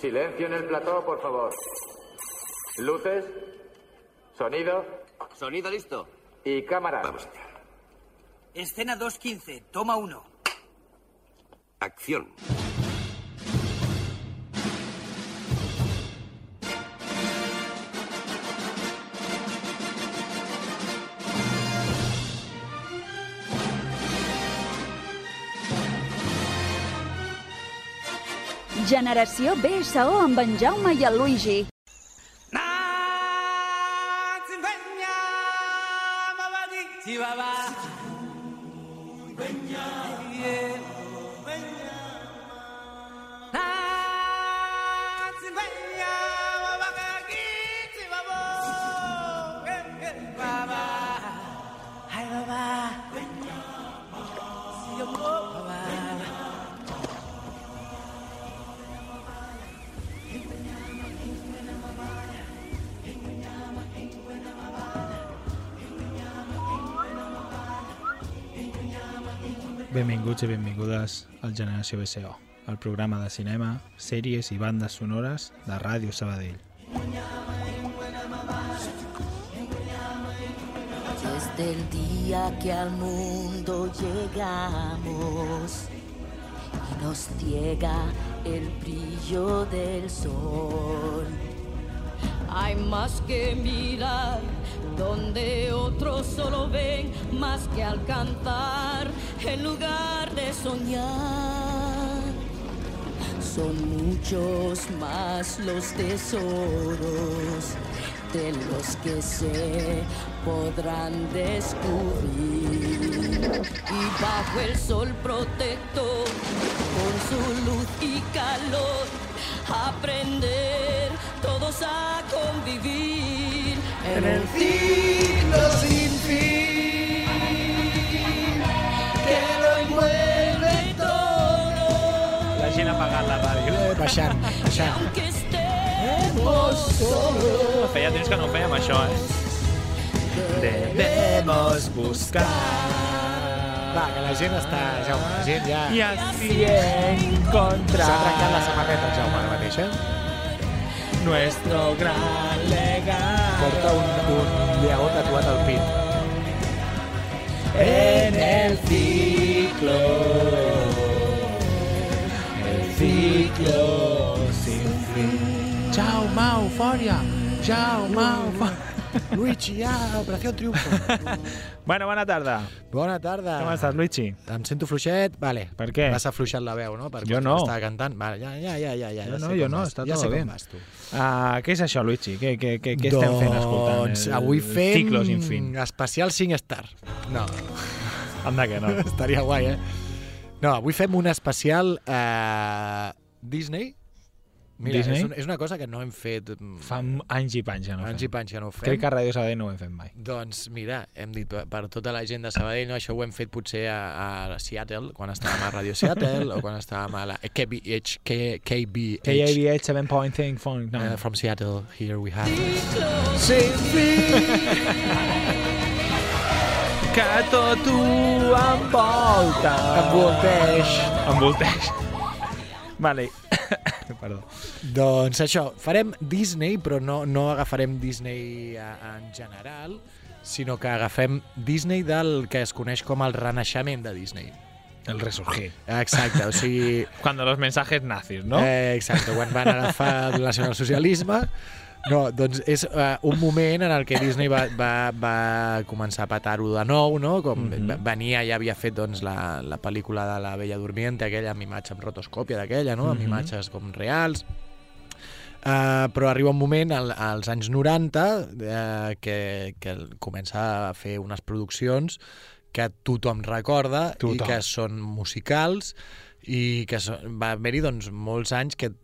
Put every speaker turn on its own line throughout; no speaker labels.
Silencio en el plató, por favor. Luces, sonido
Sonido listo.
y cámara.
Vamos allá.
Escena 2.15, toma 1.
Acción.
Generació BSO amb en Jaume i el Luigi.
Benvinguts i benvingudes al Generació BCO, el programa de cinema, sèries i bandes sonores de Ràdio Sabadell.
Desde el día que al mundo llegamos y nos ciega el brillo del sol.
Hay más que mirar donde otros solo ven, más que alcanzar en lugar de soñar.
Son muchos más los tesoros de los que se podrán descubrir.
Y bajo el sol protector, con su luz y calor, aprender todos a convivir en el ciclo sin fin que lo envuelve todo.
La gent ha apagat la ràdio.
Eh, baixant,
Y
baixant.
aunque estemos solos,
Feia temps que no ho fèiem, això, eh? Debemos buscar.
Va, que la gent està, Jaume, la gent ja...
I así encontrar
S'ha trencat la samarreta, el Jaume, ara mateix, eh?
nuestro gran legal
Porta un, un lleó tatuat al pit.
en el ciclo. El ciclo sin fin. Jaume, eufòria! Jaume, eufòria!
Luigi, ja, Operació Triunfo.
Bueno, bona tarda.
Bona tarda.
Com estàs, Luigi?
Em sento fluixet, vale.
Per què?
Vas afluixant la veu, no? Per
Jo
quan
no.
Estava cantant. Vale, ja, ja, ja, ja, ja,
Jo
ja
no,
sé
jo
com
no,
vas tu.
està
ja
tot
sé
bé.
Com vas tu.
Uh, què és això, Luigi? Què, què, què, què estem fent escoltant?
Doncs
El
avui fem...
Ciclo sin fin.
Especial 5 star. No,
Anda que no.
estaria guai, eh? No, avui fem un especial eh, Disney. Mira,
Disney?
És, un, és una cosa que no hem fet... mm,
Fa anys i panys que no ho
Anys i
fem.
panys que no ho fem.
Crec que a Ràdio Sabadell no ho hem fet mai.
Doncs mira, hem dit per- per tota la gent de Sabadell, no? això ho hem fet potser a, a Seattle, quan estàvem a Radio Seattle, o quan estàvem a la KBH, K, KBH,
KIBH 7.5 phone. No.
eh, from Seattle, here we have...
Que tot ho envolta.
Envolteix.
Envolteix. Vale. Perdó.
Doncs això, farem Disney, però no, no agafarem Disney eh, en general, sinó que agafem Disney del que es coneix com el renaixement de Disney.
El resurgir.
Exacte, o sigui,
Cuando los mensajes nazis, ¿no?
Eh, exacte, quan van agafar el nacionalsocialisme. No, doncs és uh, un moment en el que Disney va, va, va començar a petar-ho de nou, no? Com mm -hmm. venia, ja havia fet doncs, la, la pel·lícula de la Bella Durmiente, aquella amb imatge amb rotoscòpia d'aquella, no? Amb imatges com reals. Uh, però arriba un moment, al, als anys 90, uh, que, que comença a fer unes produccions que tothom recorda
Tothom.
i que són musicals i que so- va haver-hi doncs, molts anys que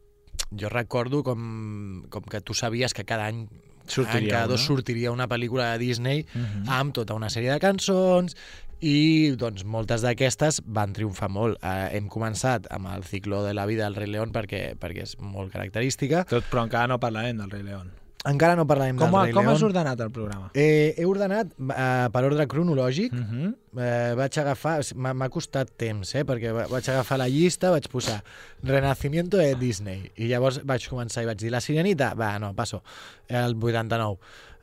jo recordo com, com que tu sabies que cada any
Sortiria
en cada dos
una. Mhm.
sortiria una pel·lícula de Disney amb tota una sèrie de cançons i doncs moltes d'aquestes van triomfar molt. Eh, hem començat amb el cicló de la vida del Rei León perquè, perquè és molt característica.
Tot, però encara no parlarem del Rei León.
Encara no parlarem
Com,
del
ha-
Rei
com
León.
has ordenat el programa?
Eh, he ordenat eh, per ordre cronològic.
Uh -huh.
Eh, vaig agafar... M'ha m'ha costat temps, eh? Perquè va- vaig agafar la llista, vaig posar Renacimiento de Disney. I llavors vaig començar i vaig dir La Sirenita? Va, no, passo. El 89.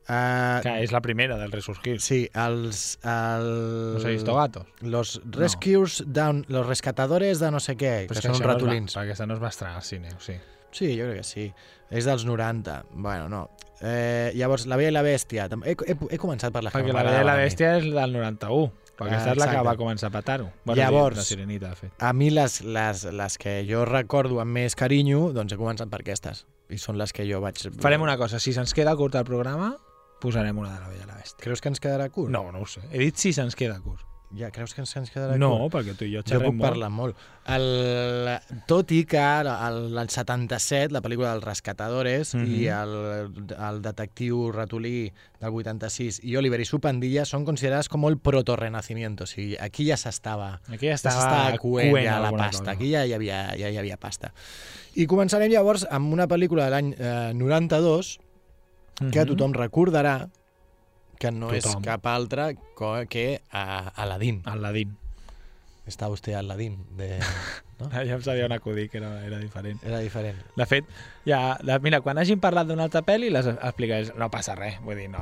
Eh,
Que és la primera del Resurgir.
sí, els... El...
Los Aristogatos.
Los Rescues Down... Los Rescatadores de no sé
Pues
què, que són uns ratolins.
Aquesta no es va estrenar al cine, o sí.
Sí, jo crec que sí. És dels 90. Bueno, no. Eh, llavors, La Bella i la Bèstia. Tam- He, he, he començat per la que
Perquè
no
la Bella i
m'agradava
la
a mi.
Bèstia és del 91, perquè
Ah,
aquesta és la que
exacte.
va començar a petar-ho. Bueno,
Llavors-
sí, la Sirenita, de fet.
A mi les, les, les que jo recordo amb més carinyo, doncs he començat per aquestes. I són les que jo vaig...
Farem una cosa, si se'ns queda curt el programa, posarem una de la Bella i la Bèstia.
Creus que ens quedarà curt?
No, no ho sé. He dit si se'ns queda curt.
Ja, creus que ens, ens quedarà
No,
curt?
perquè tu i jo
Jo
xerrem
puc
molt.
parlar molt. El, tot i que el, el 77, la pel·lícula dels Rescatadores
Mhm.
i el, el detectiu ratolí del 86 i Oliver i su pandilla són considerades com el proto-renacimiento. O sigui, aquí ja s'estava...
Aquí ja
estava,
estava
coent
coent
ja la
alguna
pasta.
cosa.
Aquí ja hi, havia, ja hi havia pasta. I començarem llavors amb una pel·lícula de l'any eh, 92 que tothom recordarà que no
Mhm. Tothom.
és cap altra co- que a Aladdin.
Aladdin.
Està vostè Aladdin. De... No?
Ja em sabia on acudir, que era, era diferent.
Era diferent.
De fet, ja, de, mira, quan hagin parlat d'una altra pel·li, les explicaré. No passa res, vull dir, no...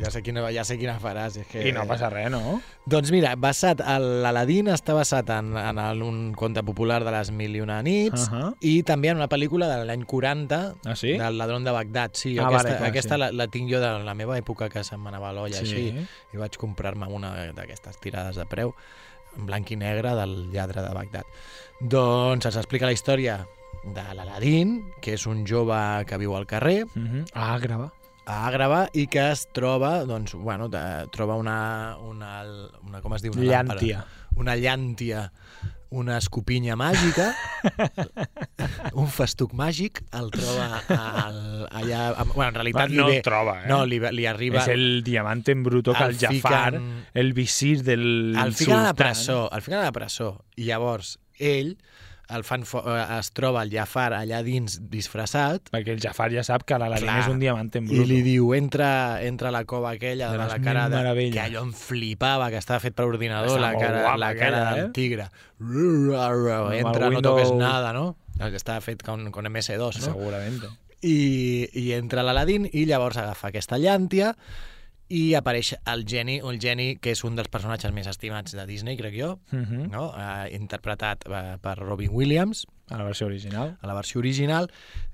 Ja sé quina, ja sé quina faràs. És que...
I no passa res, no?
Doncs mira, basat el- l'Aladín està basat en, en el- un conte popular de les mil i una nits
Ahà.
i també en una pel·lícula de l'any 40
Ah, sí?
del ladrón de Bagdad. Sí,
Ah,
aquesta,
vale, clar,
aquesta
sí.
la, la tinc jo de la meva època que se'm anava a l'olla
Sí.
així i vaig comprar-me una d'aquestes tirades de preu en blanc i negre del lladre de Bagdad. Doncs ens explica la història de l'Aladín, que és un jove que viu al carrer,
Uh -huh. Ah, grava.
a Àgrava i que es troba, doncs, bueno, de, troba una, una, una, com es diu? Una làmpara.
Llàntia.
Una llàntia, una escopinya màgica, un festuc màgic, el troba al, allà... Amb, bueno, en realitat
No
li ve,
el troba, eh?
No, li, ve- li arriba...
És el diamante en bruto que
El
el, Jafar,
fiquen-
el visir del
al final a la
sultán-
presó, al final a la presó. I llavors, ell el fan fo- eh, es troba el Jafar allà dins disfressat
Perquè el Jafar ja sap que l'Aladín
Clar.
és un diamante en
I
bruto.
li diu, entra, entra a la cova aquella
De
de,
les
la
mil
cara de...
meravelles.
Que allò em flipava, que estava fet per ordinador,
Estava
la
molt
cara,
guapa
la cara
aquella,
del
eh?
tigre. Entra, no
Windows.
toques nada, no? Estava fet con, con MS2, no?
Segurament. eh?
I, i entra l'Aladín i llavors agafa aquesta llàntia i apareix el geni, el geni que és un dels personatges més estimats de Disney, crec jo,
Mhm.
no? Eh, interpretat eh, per Robin Williams,
A la versió original.
a la versió original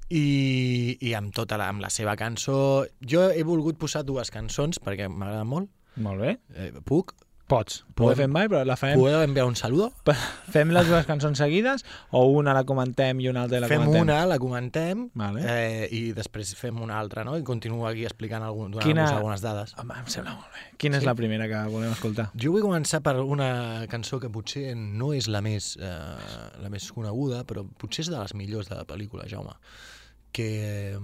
i, i amb tota la, amb la seva cançó. Jo he volgut posar dues cançons perquè m'agrada molt.
Molt bé.
Eh, puc?
Pots.
Podem-
Podem fer mai, però la farem...
Podeu enviar un saludo?
Fem les dues cançons seguides o una la comentem i una altra la
fem
comentem?
una, la comentem
Vale.
eh, i després fem una altra, no? I continuo aquí explicant algun, donant
Quina-
Quina... algunes dades.
Home, em sembla molt bé. Quina és la primera que volem escoltar?
Jo vull començar per una cançó que potser no és la més, eh, la més coneguda, però potser és de les millors de la pel·lícula, Jaume que eh,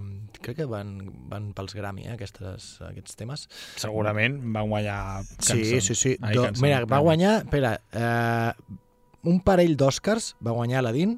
crec que van, van pels Grammy, eh, aquestes, aquests temes.
Segurament van guanyar
Sí,
cançons.
sí, sí.
Ai,
Do,
cançons,
mira, va
perdó.
guanyar, espera, eh, un parell d'Oscars va guanyar Aladdin,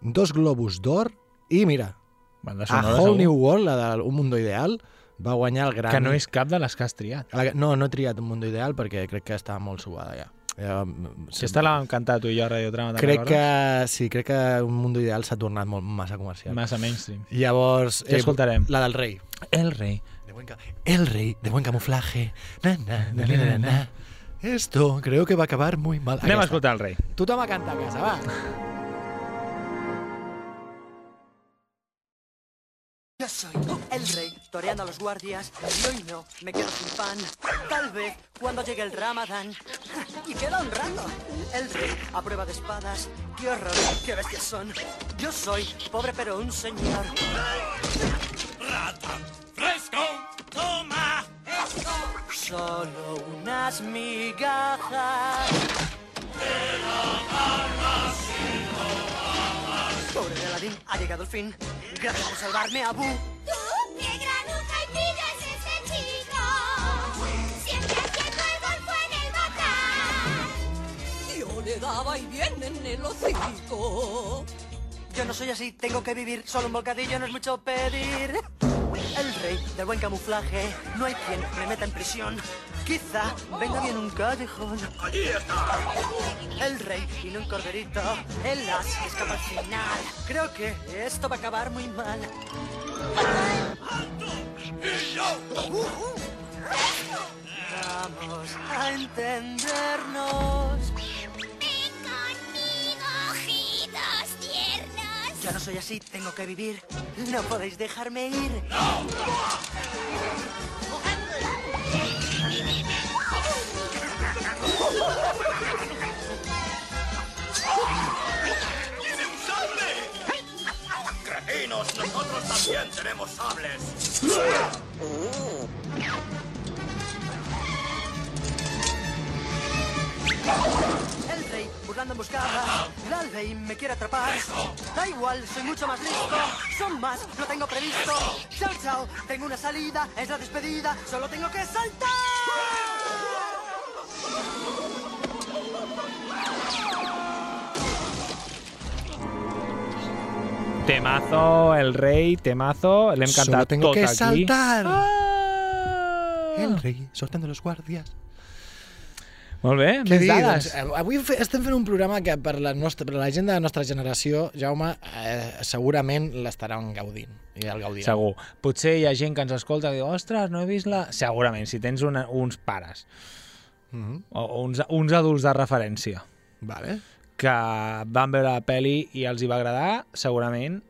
dos Globus d'Or i, mira,
Banda
A
sonora,
Whole
segur.
New World, la de Un Mundo Ideal, va guanyar el Grammy.
Que no és cap de les que has triat.
La- No, no he triat Un Mundo Ideal perquè crec que estava molt subada ja. ja
Si esta la vam cantar tu i jo a Radiotrama, te'n
crec
recordes?
que, sí, crec que Un Mundo Ideal s'ha tornat molt massa comercial.
Massa mainstream.
Llavors, eh,
Què escoltarem?
la del rei.
El rei.
De buen ca- el rey de buen camuflaje. Na, na, na, na, na, na. Esto creo que va a acabar muy mal.
Anem a
Aquesta.
escoltar el rei.
Tothom a cantar a casa, va.
Yo soy el rey, toreando a los guardias, y hoy no, me quedo sin pan. Tal vez cuando llegue el ramadán. Y queda un rato. El rey, a prueba de espadas, qué horror, qué bestias son. Yo soy pobre pero un señor. Solo unas migajas. Pobre de Aladín, ha llegado el fin. Gracias por salvarme, Abu.
Tú, qué granuja y pilla es ese chico. Siempre haciendo el golfo en el batán.
Yo le daba y bien en el hocico.
Yo no soy así, tengo que vivir. Solo un bocadillo no es mucho pedir. El rey del buen camuflaje. No hay quien me meta en prisión. Quizá venga bien un callejón.
¡Allí está!
El rey y no un corderito. El as escapa al final. Creo que esto va a acabar muy mal. Vamos a entendernos.
Ven conmigo, ojitos tiernos.
Yo no soy así, tengo que vivir. No podéis dejarme ir.
¡Cretinos! ¡Nosotros también tenemos sables!
El rey burlando emboscada. El rey me quiere atrapar. Da igual, soy mucho más listo. Son más, lo tengo previsto. Chao, chao, tengo una salida. Es la despedida. Solo tengo que saltar.
Temazo, el rey, temazo. L'hem
Solo
cantat
tengo
tot
que
aquí. Ah.
saltar. El rei, soltando los guàrdies.
Molt bé,
Què
més
dir?
dades.
Doncs, eh, avui fe- estem fent un programa que per la, nostra, per la gent de la nostra generació, Jaume, eh, segurament l'estaran gaudint. I el gaudirà.
Segur. Potser hi ha gent que ens escolta i diu, ostres, no he vist la... Segurament, si tens una, uns pares
Mhm.
o o uns, uns adults de referència
Vale.
que van veure la pel·li i els hi va agradar, segurament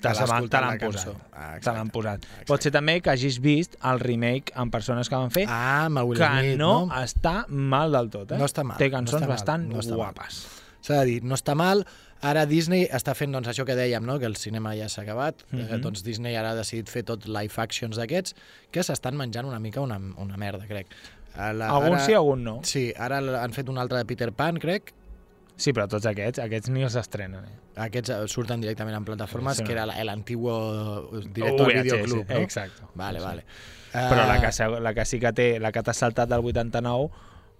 te
Has
la van- te
escoltat
l'han
la
posat.
cançó. Ah,
Te l'han posat. Pot ser també que hagis vist el remake amb persones que van fer
ah, Will
que
Smith,
no,
no?
està mal del tot. Eh?
No està mal.
Té cançons
no està mal,
bastant
no està mal.
guapes.
S'ha de dir, no està mal. Ara Disney està fent doncs, això que dèiem, no? que el cinema ja s'ha acabat. Mm -hmm.
Mhm.
eh, doncs Disney ara ha decidit fer tot live actions d'aquests que s'estan menjant una mica una, una merda, crec. A La,
Algun sí, algun no.
Sí, ara l- han fet un altre de Peter Pan, crec.
Sí, però tots aquests, aquests ni els estrenen. Eh?
Aquests eh, surten directament en plataformes,
Sí,
que
no.
era la- el antiguo eh, director
VHS,
del videoclub. No?
exacte.
Vale, vale.
Però la
Eh,
que, se- la que sí que té, la que t'ha saltat del 89,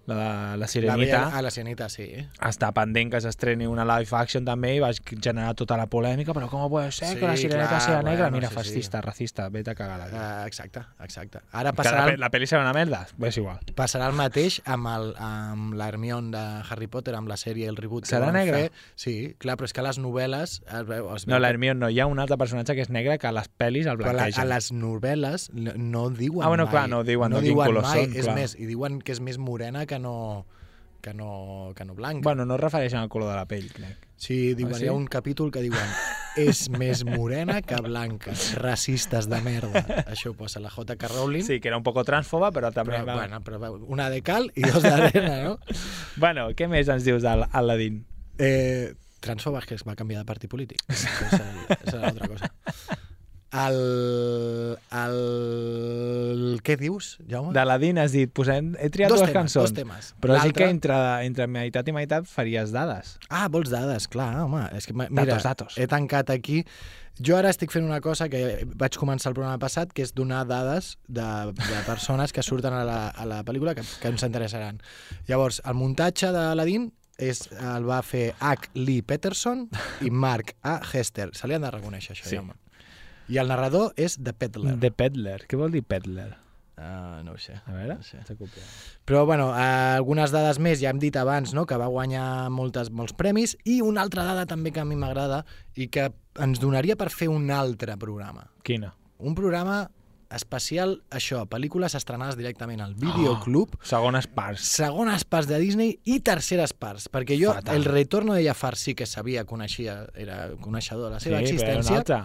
la, de- la Sirenita,
La, a la Sirenita, sí. eh?
està pendent que s'estreni una live action també i vas generar tota la polèmica, però com pot ser que la
Sí,
Sirenita
clar,
sigui negra?
bueno,
Mira,
sí,
fascista, racista, vete a cagar. la-
Eh, exacte, exacte. Ara
Que la,
passarà...
pe- la pel·li serà una merda? Bé, és igual.
passarà el mateix amb, el, amb la Hermione de Harry Potter, amb la sèrie, el reboot. que
Serà
volen
negra?
Fer. Sí, clar, però és que a les novel·les... Es veu, es veu
No, la
que-
Hermione no. Hi ha un altre personatge que és negre que a les pel·lis el
però a, la-
blanqueja.
a les novel·les no- no diuen
Ah, bueno,
mai.
clar, no diuen,
no
no, quin
diuen
color
mai,
són,
és
clar.
més, i diuen que és més morena que no, que no, que no blanca.
Bueno, no es refereixen al color de la pell, crec.
sí, diuen,
Ah, sí?
hi ha un capítol que diuen és més morena que blanca. Racistes de merda. Això ho posa la J.K. Rowling.
Sí, que era un poco transfoba, però també...
Però,
va-
bueno, però va, una de cal i dos d'arena, no?
bueno, què més ens dius de l'Aladín?
Eh, transfobes que es va canviar de partit polític. Esa és l'altra cosa. El, el... Què dius, Jaume?
De l'Aladín has dit, posem, he triat
Dos
dues
temes,
cançons.
dos temes.
Però sí
L'altre-
que entre, entre meitat i meitat faries dades.
Ah, vols dades, clar, home. És que, ma- mira,
Datos, datos.
he tancat aquí. Jo ara estic fent una cosa que vaig començar el programa passat, que és donar dades de, de persones que surten a la, a la pel·lícula que, que ens interessaran. Llavors, el muntatge de l'Aladín és, el va fer H. Lee Peterson i Mark A. Hester. Se li han de reconèixer, això,
Sí.
Jaume. I el narrador és The Peddler.
The Peddler. Què vol dir Peddler?
Uh, no ho sé.
A veure,
No sé.
s'ha copiat.
Però, bueno, eh, algunes dades més, ja hem dit abans, no?, que va guanyar moltes, molts premis, i una altra dada també que a mi m'agrada i que ens donaria per fer un altre programa.
Quina?
Un programa especial, això, pel·lícules estrenades directament al videoclub, oh.
Ah, Segones parts.
segones parts de Disney i terceres parts, perquè jo
Fatal.
el retorno de Jafar sí que sabia, coneixia, era coneixedor de la
Sí,
seva
però era una
existència,
altra.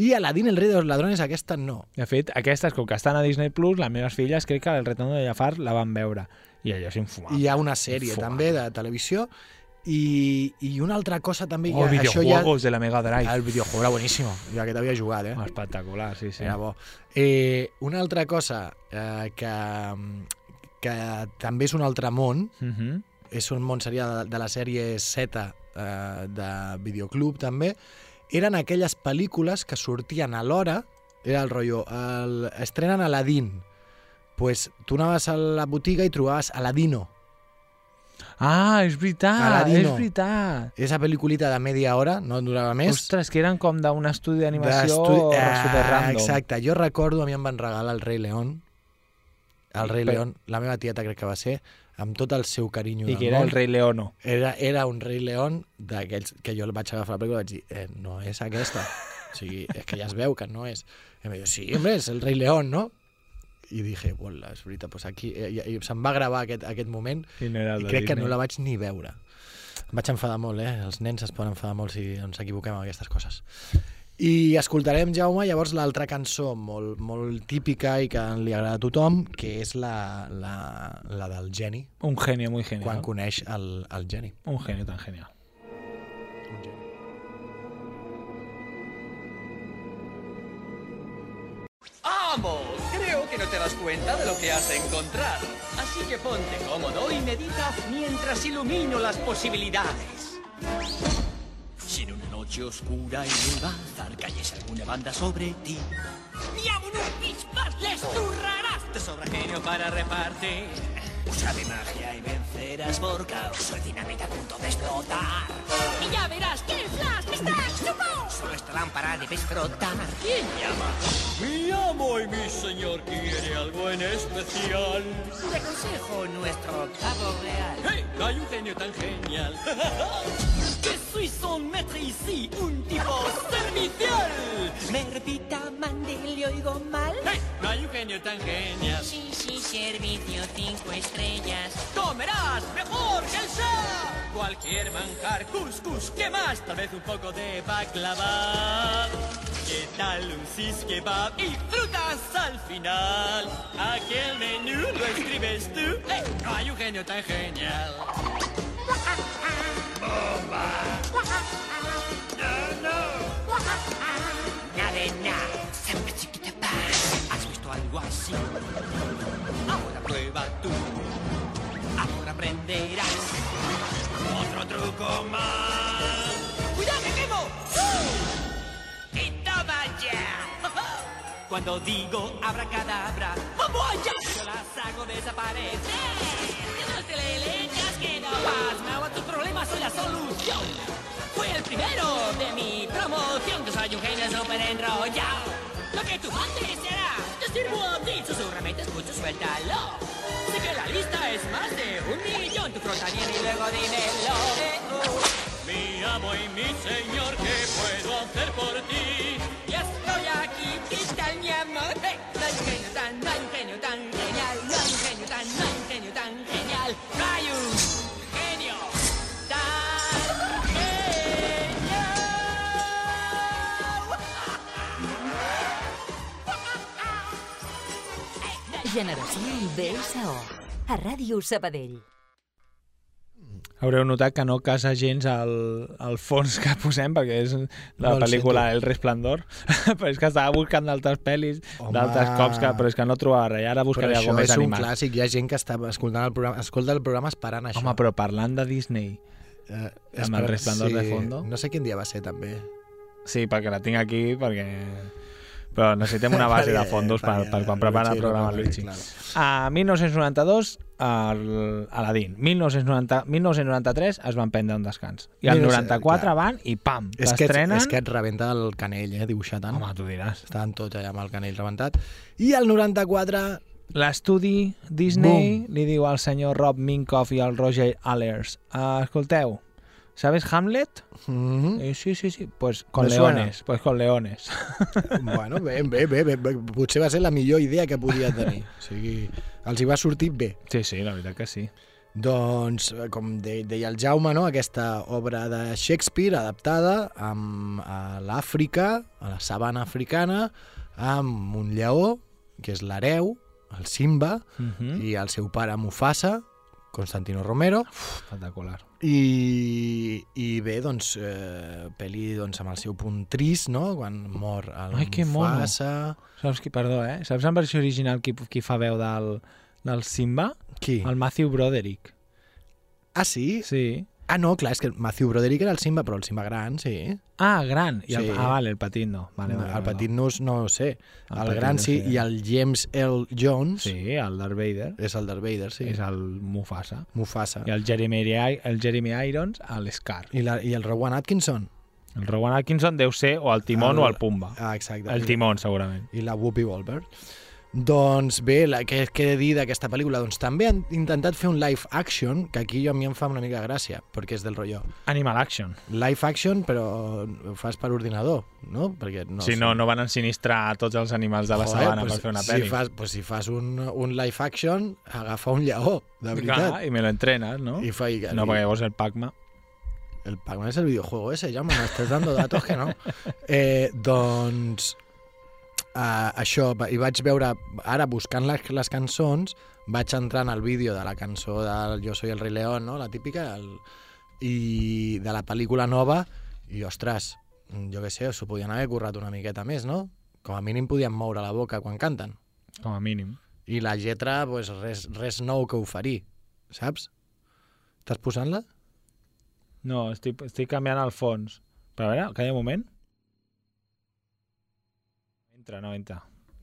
i Aladdin, el rei dels ladrones, aquesta no.
De fet, aquestes, com que estan a Disney+, Plus, les meves filles crec que el retorn de Jafar la van veure. I allò és infumable.
hi ha una sèrie
Fumable.
també de televisió i, i una altra cosa també
O
ja, això ja,
Oh, videojuegos de la Mega Drive.
el videojuego era buenísimo jo aquest havia jugat eh?
Espectacular, sí, sí.
era bo eh, una altra cosa eh, que, que també és un altre món
Mhm.
és un món seria de, de la sèrie Z eh, de videoclub també eren aquelles pel·lícules que sortien a l'hora era el rotllo el, estrenen Aladdin pues tu anaves a la botiga i trobaves Aladino
Ah, és veritat,
Aladino.
és veritat.
Esa pel·lículita de media hora, no durava més.
Ostres, que eren com d'un estudi d'animació
d'estudi- Ah,
superrandom.
Exacte, jo recordo, a mi em van regalar el Rei León, el Rei
Però-
León, la meva tieta crec que va ser, amb tot el seu carinyo
I
del
que era
món.
el Rei Leono.
Era, era un Rei León d'aquells que jo el vaig agafar la pel·lícula i vaig dir, eh, no és aquesta. O sigui, és que ja es veu que no és. I em va dir, sí, hombre, és el Rei León, no? I dije, hola, és veritat, pues aquí... eh, I, i se'm va gravar aquest, aquest moment
I no era el
i
de
crec que
Disney.
no la vaig ni veure. Em vaig enfadar molt, eh? Els nens es poden enfadar molt si ens equivoquem amb aquestes coses. I escoltarem, Jaume, llavors l'altra cançó molt, molt típica i que li agrada a tothom, que és la, la, la del geni,
Un genio muy genial.
quan coneix el, el geni.
Un genio tan genial.
¡Vamos! Creo que no te das cuenta de lo que has encontrado. Así que ponte cómodo y medita mientras ilumino las posibilidades. Si en una noche oscura y un bazar cayese alguna banda sobre ti,
les zurrarás!
te sobra genio para repartir. Usa mi magia y vencerás por caos. Soy dinamita a punto de explotar.
Y ya verás que el flash está
Solo esta lámpara debes frotar. ¿Quién llama?
Mi amo y mi señor quiere algo en especial.
Te aconsejo nuestro octavo real.
¡Hey! No hay un genio tan genial.
Je suis son maître ici, un tipo servicial. Mervita, mandé, le oigo mal.
No hay un genio tan genial.
Sí, sí, servicio cinco estrellas. Comerás mejor que el chef.
Cualquier manjar, cuscús, ¿qué más? Tal vez un poco de baklava. ¿Qué tal un sis kebab y frutas al final? Aquí el menú lo escribes tú. ¡Hey! No hay un genio tan genial. ¡Bomba! ¡No, no!
Nada de nada. Siempre chiquita pan. ¿Has visto algo así? Ahora prueba tú. Ahora aprenderás. Otro truco más. ¡Uh! ¡Cuidado, me quemo! ¡Y toma ya! Cuando digo abracadabra, ¡vamos allá! Yo las hago desaparecer. Que no te le lechas, que no pasma a tus problemas soy la solución. Fui el primero de mi promoción, que soy un genio súper enrollado. Lo que tú mandes será, te sirvo a ti, susurrame, te escucho, suéltalo. Sé que la lista es más de un millón, tú frota bien y luego dímelo. Eh, oh.
Mi amo y mi señor, ¿qué puedo hacer por ti?
Y estoy aquí, ¿qué tal mi amor? Eh, No hay un genio tan, no hay un genio tan genial, no hay un genio tan, no hay un genio tan genial, no hay un genio tan
Generació BSO. A Ràdio Sabadell.
Haureu notat que no casa gens el, el fons que posem, perquè és la
No el
pel·lícula El Resplendor, però és que estava buscant d'altres pel·lis, d'altres cops, que, però és que no trobava res. I Ara buscaré
però això
alguna més
és un
animat.
clàssic, hi ha gent que està escoltant el programa, escolta el programa esperant això.
Home, però parlant de Disney,
eh,
amb el Resplandor de fondo.
No sé quin dia va ser, també.
Sí, perquè la tinc aquí, perquè... Però necessitem una base de fondos per, per quan prepara el programa Luigi. A 1992, el Aladdin. 1990, 1993 es van prendre un descans. I el 94 van i pam,
És que, et,
l'estrenen...
és que et rebenta el canell, eh, dibuixar tant. Home,
tu diràs.
Estaven tots allà amb el canell rebentat. I el 94...
L'estudi Disney li diu al senyor Rob Minkoff i al Roger Allers "Ah, escolteu, sabes Hamlet?
Mm
-hmm. Sí, sí, sí. Pues con
Me suena.
leones. Pues con leones.
Bueno, bé, bé, bé, bé, bé, potser va ser la millor idea que podia tenir. O sigui, els hi va sortir bé.
Sí, sí, la veritat que sí.
Doncs, eh, com de, deia el Jaume, no? aquesta obra de Shakespeare adaptada amb, a l'Àfrica, a la sabana africana, amb un lleó, que és l'hereu, el Simba,
Mhm.
i el seu pare Mufasa, Constantino Romero.
Espectacular.
I, i bé, doncs, eh, pel·li doncs, amb el seu punt trist, no? Quan mor el
Ai, que mono.
Mufasa...
Saps qui, perdó, eh? Saps en versió original qui, qui fa veu del, del Simba?
Qui?
El Matthew Broderick.
Ah, sí?
Sí.
Ah, no, clar, és que Matthew Broderick era el Simba, però el Simba gran, sí.
Ah, gran. I el,
Sí.
Ah, vale, el petit no. Vale,
No,
vale,
el petit no, no ho sé.
El
El,
petit
gran
no
sí,
sé.
i el James L. Jones
Sí, el Darth Vader.
és el Darth Vader, sí. Ah.
És el Mufasa.
Mufasa.
I el Jeremy, I- el Jeremy Irons, el Scar.
I, la, I el Rowan Atkinson.
El Rowan Atkinson deu ser o el Timon
El-
o el Pumba.
Ah, exacte.
El Timon, segurament.
I la Whoopi Goldberg. Doncs bé, la, què, què he de dir d'aquesta pel·lícula? Doncs també han intentat fer un live action, que aquí jo a mi em fa una mica gràcia, perquè és del rotllo.
Animal Action.
Live action, però ho fas per ordinador, no? Perquè no
si
sé.
no, no van ensinistrar a tots els animals de la
Joder,
sabana
pues,
per fer una
si
pel·li.
Fas, pues, si fas un, un live action, agafa un lleó, de veritat.
Clar, I me lo entrenas, ¿no?
I fa, i,
no,
i-
perquè llavors el Pac-Man...
El Pac-Man es el videojuego ese, ya me estás dando datos que no. Eh, doncs, uh, això, va- i vaig veure, ara buscant les, les cançons, vaig entrar en el vídeo de la cançó del Jo soy el rei león, no? la típica, el, i de la pel·lícula nova, i ostres, jo què sé, s'ho podien haver currat una miqueta més, no? Com a mínim podien moure la boca quan canten.
Com a mínim.
I la lletra, pues, res, res nou que oferir, saps? Estàs posant-la?
No, estic, estic canviant el fons. Però a veure, calla un moment. Entra, no entra.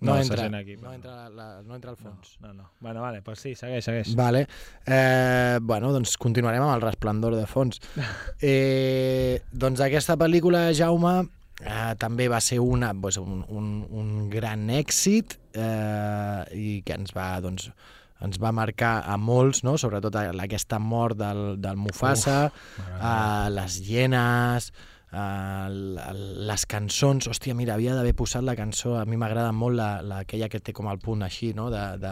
No,
se
entra,
sent Aquí,
no, entra la, la, no entra al fons.
No, no. Bueno, vale, pues sí, segueix, segueix.
Vale. Eh, bueno, doncs continuarem amb el resplendor de fons. Eh, doncs aquesta pel·lícula, Jaume, eh, també va ser una, doncs, un, un, un gran èxit eh, i que ens va, doncs, ens va marcar a molts, no? sobretot a- aquesta mort del, del Mufasa, a les hienes, a les cançons, hòstia, mira, havia d'haver posat la cançó, a mi m'agrada molt la, la, aquella que té com el punt així, no?, de, de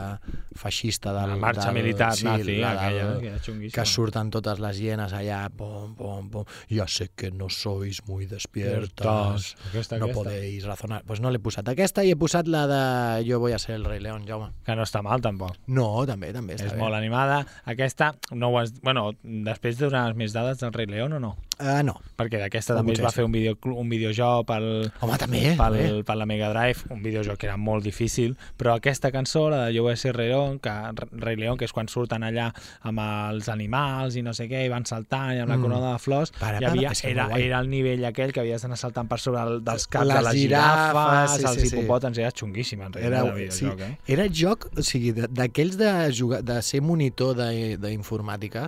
feixista. Del,
La marxa
del,
militar nazi,
la del-
aquella, que era xunguíssima.
Que surten totes les hienes allà, pom, pom, pom, ya sé que no sois muy despiertas,
Aquesta,
no
aquesta.
podéis razonar. Pues no l'he posat aquesta i he posat la de Jo voy a ser el rei león, Jaume.
Que no està mal, tampoc.
No, també, també està
És
bé.
molt animada. Aquesta, no ho has... Bueno, després donar més dades del Rei León o no?
Ah, no.
Perquè d'aquesta
No,
també es va
potser sí.
fer un, vídeo, un videojoc pel,
Home, també,
pel,
també.
per la Mega Drive, un videojoc que era molt difícil, però aquesta cançó, la de Jo vull ser Rei León, que, Rei León, que és quan surten allà amb els animals i no sé què, i van saltant i amb la
Mm.
corona de flors,
Para,
i
para,
havia,
és que
era,
molt guai.
era el nivell aquell que havies d'anar saltant per sobre el, dels caps
Les
de les
girafes,
girafes,
sí,
els
sí, sí.
hipopòtams, era xunguíssim, en realitat,
Era,
el
sí,
videojoc, eh?
era joc, o sigui, de- d'aquells de, jugar, de ser monitor de- d'informàtica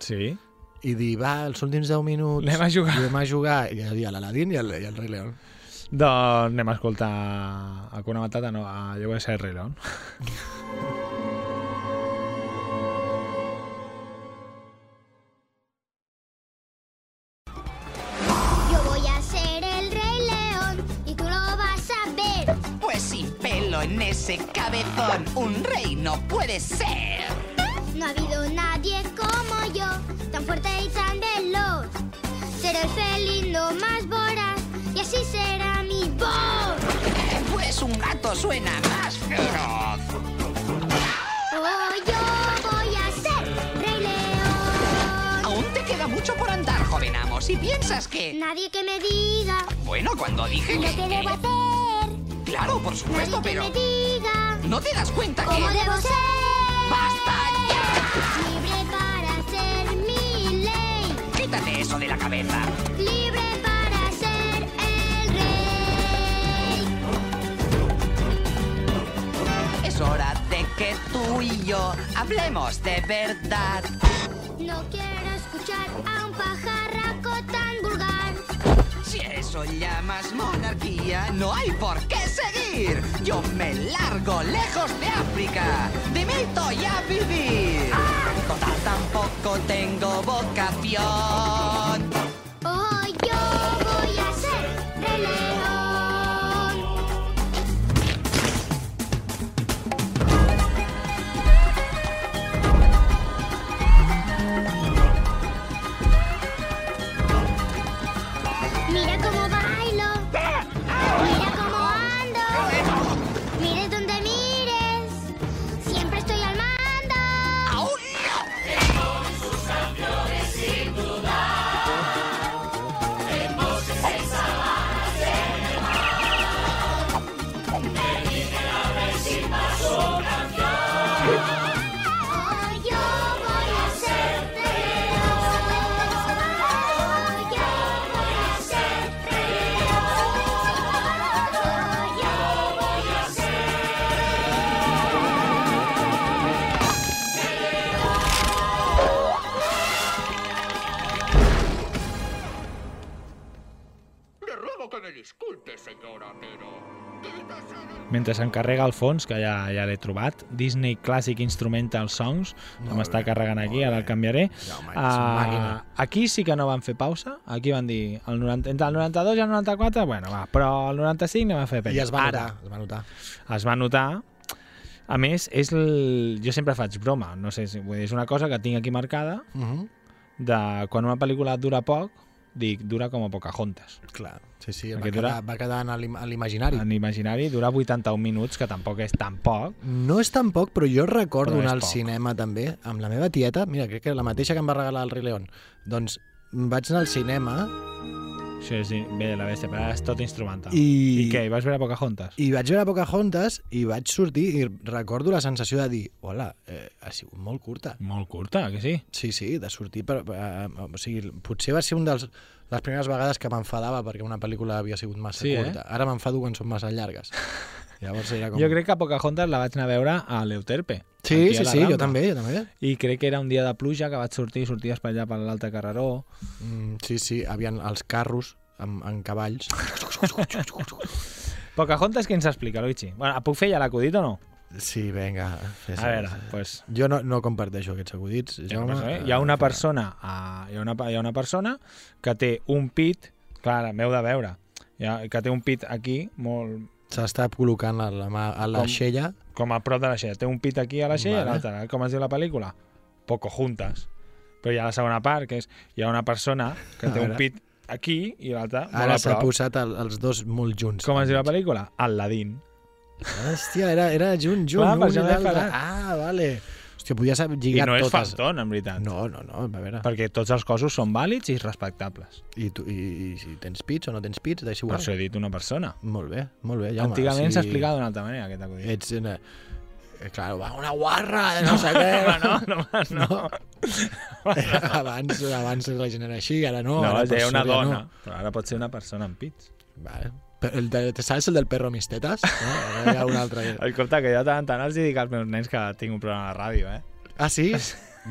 Sí.
i dir, va, els últims 10 minuts
Anem a jugar.
anem a jugar. I hi havia l'Aladín i, el, i el Rei León.
Doncs anem a escoltar a Kuna Matata, no, a Jo vull ser Rei León.
Yo voy a ser el rey león y tú lo vas a ver.
Pues sin pelo en ese cabezón, un rey no puede ser.
No ha habido nadie como yo, tan fuerte y tan veloz. Seré el felino más voraz y así será mi voz.
Pues un gato suena más feroz.
Oh, yo voy a ser rey león.
Aún te queda mucho por andar, joven amo. Si piensas que...
Nadie que me diga
Bueno, cuando dije
lo
que...
que debo hacer.
Claro, por supuesto,
Nadie que
pero...
me diga
¿No te das cuenta que...?
cómo debo ser.
¡Basta ya!
Libre para ser mi ley.
Quítate eso de la cabeza.
Libre para ser el rey.
Es hora de que tú y yo hablemos de verdad.
No quiero escuchar a un pajarraco tan vulgar.
Si eso llamas monarquía, no hay por qué seguir. Yo me largo lejos de África. De mito y a vivir. Ah, Total, tampoco tengo vocación.
Oh, yo voy a ser rey león. Mira cómo bailo. Mira cómo ando. Mires donde mires. Siempre estoy al mando.
¡Aún
Yo voy a ser rey león.
dejo que me disculpe, señora, pero...
Mentre s'encarrega al fons, que ja ja l'he trobat, Disney Classic Instrumental Songs, no m'està carregant aquí, ara el canviaré. Ah,
màquina.
aquí sí que no van fer pausa, aquí van dir el 90, entre el 92 i el 94, bueno, va, però el 95 anem a fer penya.
I es va
Ara,
notar, es va notar.
es va notar. A més, és el... jo sempre faig broma, no sé, si, vull dir, és una cosa que tinc aquí marcada,
Mhm.
de quan una pel·lícula dura poc, dic, dura com a Pocahontas.
Clar, sí, sí, va
Perquè
quedar,
dura-
va quedar en l'im- en l'imaginari.
En imaginari dura 81 minuts, que tampoc és tan poc.
No és tan poc, però jo recordo
Però és
anar al
poc.
cinema també amb la meva tieta, mira, crec que la mateixa que em va regalar el Rei León. Doncs vaig anar al cinema
Això és bé, la bèstia, però ara és tot instrumental.
I-
I què, hi vas veure Pocahontas?
i vaig veure Pocahontas i vaig sortir i recordo la sensació de dir hola, eh, ha sigut molt curta.
Molt curta, que sí?
Sí, sí, de sortir per, eh, o sigui, potser va ser un dels les primeres vegades que m'enfadava perquè una pel·lícula havia sigut massa
Sí, eh?
curta. Ara m'enfado quan són massa llargues. Llavors era com...
Jo crec que Pocahontas la vaig anar a veure a l'Euterpe.
Sí,
aquí a
sí,
la
sí, jo
Rambla.
també, jo també.
I crec que era un dia de pluja que vaig sortir, sorties per allà per l'Alta Carreró.
Mm, sí, sí, havien els carros amb, amb cavalls.
Pocahontas, què ens explica, Luigi? Bueno, puc fer ja l'acudit o no?
Sí, vinga. Fes
A veure, pues...
Jo no, no comparteixo aquests acudits. Jo,
Pues, eh, hi ha una persona a, hi, ha una, hi ha una persona que té un pit clar, m'heu de veure hi ha, que té un pit aquí molt
S'està col·locant la, la mà a la
Com-
xella.
com a prop de la xella té un pit aquí a la xella
Vale.
vale. l'altre eh? com es diu la pel·lícula? Poco juntas però hi ha la segona part que és hi ha una persona que
A
té un
veure.
pit aquí i l'altra molt
Ara
a
s'ha
prop
posat el, els dos molt junts.
com es diu la pel·lícula? Aladdin
Hòstia, era, era junt, junt.
Clar, per
un
això
i
m'he
l'altre.
parat.
Ah, vale. Hòstia, podies haver
i
lligat
no és
totes.
fanton en veritat
no, no, no, a veure.
perquè tots els cossos són vàlids i respectables
I, tu, i, i si tens pits o no tens pits, deixa
per
igual.
això he dit una persona
Molt bé, molt bé. Jaume,
antigament s'ha
sí.
explicat d'una altra manera aquest acudit
Ets una... eh, Claro, va, una guarra, de no, sé què.
no, no, no. no.
abans, abans la gent era així, ara Eh. no.
No,
ara
no
per
deia una
sort ja
dona, no. però ara pot ser una persona amb pits.
Vale. Però el de, te saps el del perro mis tetas? No? Ara hi ha un altre.
El compte que jo de tant en tant els dic als meus nens que tinc un programa a la ràdio, eh?
Ah, sí?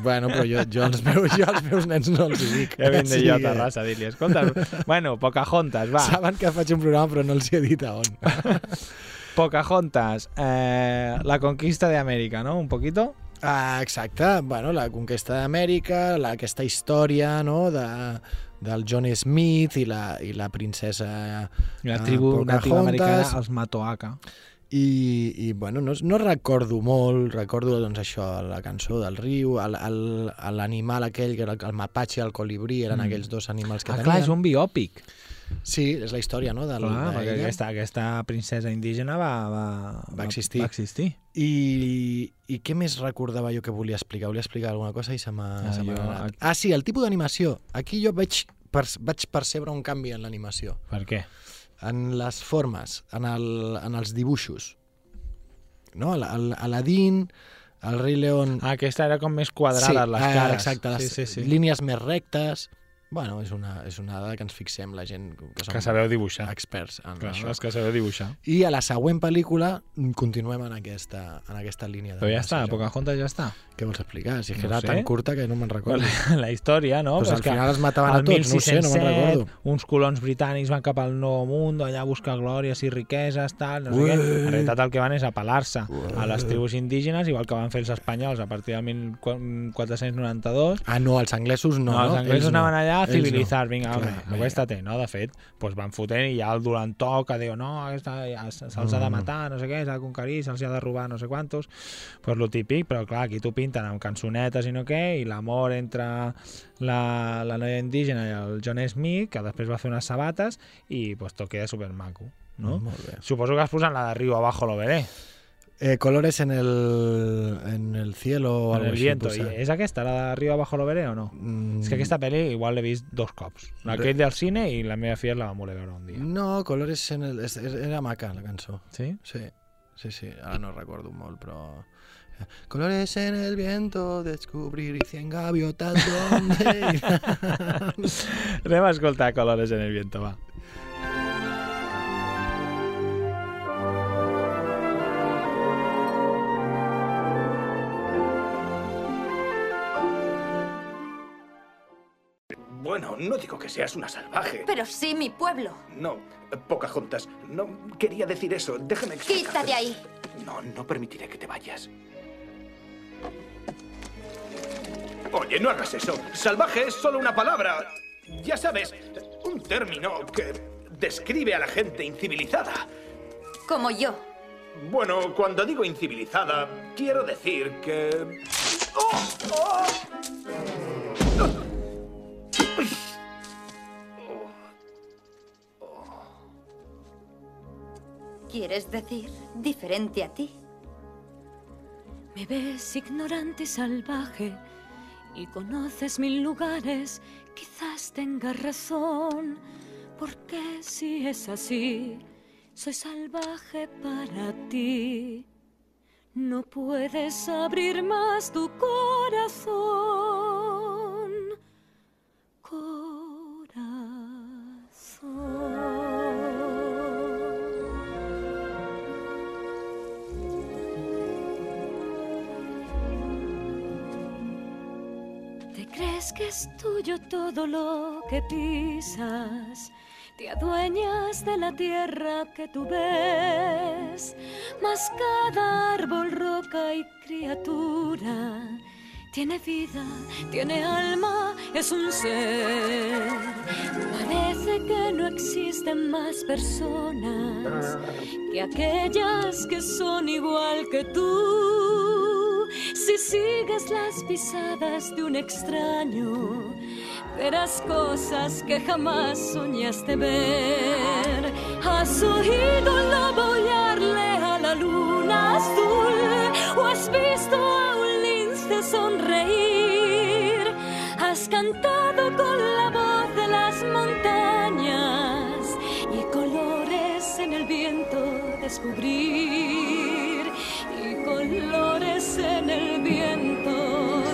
Bueno, però jo, jo, els meus, jo els meus nens no els hi dic.
Ja vinc de jo a
que-
Terrassa a dir-li, escolta, bueno, Pocahontas, va.
Saben que faig un programa però no els he dit a on.
Pocahontas, eh, la conquista de Amèrica, no? Un poquito.
Ah, exacte, bueno, la conquesta d'Amèrica, la- aquesta història no? de, del John Smith i la, i la princesa
La
ah,
tribu
Pocahontas.
nativa americana, els Matoaca.
I, i bueno, no, no recordo molt, recordo doncs, això, la cançó del riu, el- el- l'animal aquell, que era el, el mapatge i el colibrí, eren
Mm.
mm. aquells dos animals que
Ah,
tenien.
clar, és un biòpic.
Sí, és la història, no? Del,
Clar, perquè
d'ella.
aquesta, aquesta princesa indígena va, va,
Va existir.
Va existir.
I, I què més recordava jo que volia explicar? Volia explicar alguna cosa i se m'ha
Ah,
ah,
jo-
anat. Ah, sí, el tipus d'animació. Aquí jo vaig, per, vaig percebre un canvi en l'animació,
Per què?
en les formes, en, el, en els dibuixos. No? El, el, Aladdin, el Rei León...
Ah, aquesta era com més quadrada, les
Mm. ah,
cares.
Exacte, les
sí, sí, sí.
línies més rectes... Bueno, és una, és una dada que ens fixem la gent que som
Que sabeu dibuixar.
experts en
Clar,
això.
les que sabeu dibuixar.
I a la següent pel·lícula continuem en aquesta, en aquesta línia.
Però ja està,
d'animació.
Pocahontas ja està.
Què vols explicar? Si és que
No
era
sé.
tan curta que no me'n
la,
recordo.
la història, no?
Pues
Però
al
és que
final els mataven a
al
tots, no ho sé, no
1607,
me'n recordo.
Uns colons britànics van cap al Nou Mundo, allà a buscar glòries i riqueses, tal, no sé
Ué.
què. En realitat el que van és apel·lar-se a les tribus indígenes, igual que van fer els espanyols a partir del 1492.
Ah, no, els anglesos no.
No, els anglesos
Ells no.
anaven allà a
Ells
civilitzar,
no.
vinga, home,
Clar,
aquesta té, no? De fet, doncs van fotent i ja el Dolantó que diu, no, aquesta ja se- se'ls ha de
Mm.
matar, no sé què, s'ha de conquerir, se'ls ha de robar no sé quantos, pues lo típic, però clar, aquí t'ho pinten amb cançonetes i no què, i l'amor entre la, la noia indígena i el John Smith, que després va fer unes sabates, i pues tot queda supermaco, no?
Mm, Molt bé.
Suposo que has posat la de Río Abajo lo veré,
Eh, colores en el, en el cielo o
en
algo
el
així,
viento.
potser.
I és aquesta, la de Río Abajo lo veré o no?
Mm,
És que aquesta pel·li igual l'he vist dos cops. Aquell del cine i la meva filla la va voler veure un dia.
No, colores en el... és- és- Era maca, la cançó.
Sí?
Sí, sí, sí. Ara no recordo molt, però... eh, Colores en el viento, descubrir y cien gaviotas donde...
Anem a escoltar Colores en el viento, va.
bueno, no digo que seas una salvaje.
Pero sí mi pueblo.
No, Pocahontas, no quería decir eso. Déjame explicar.
Quítate ahí.
No, no permitiré que te vayas. Oye, no hagas eso. Salvaje es solo una palabra. Ya sabes, un término que describe a la gente incivilizada.
Como yo.
Bueno, cuando digo incivilizada, quiero decir que... ¡Oh! ¡Oh!
¿Quieres decir diferente a ti?
Me ves ignorante y salvaje y conoces mil lugares, quizás tengas razón, porque si es así, soy salvaje para ti. No puedes abrir más tu corazón. Te crees que es tuyo todo lo que pisas. Te adueñas de la tierra que tú ves, mas cada árbol, roca y criatura tiene vida, tiene alma, es un ser. Parece que no existen más personas que aquellas que son igual que tú. Si sigues las pisadas de un extraño, verás cosas que jamás soñaste ver. Has oído laborearle a la luna azul, o has visto a un lince sonreír. Has cantado con la voz de las montañas y colores en el viento descubrir, y colores en el viento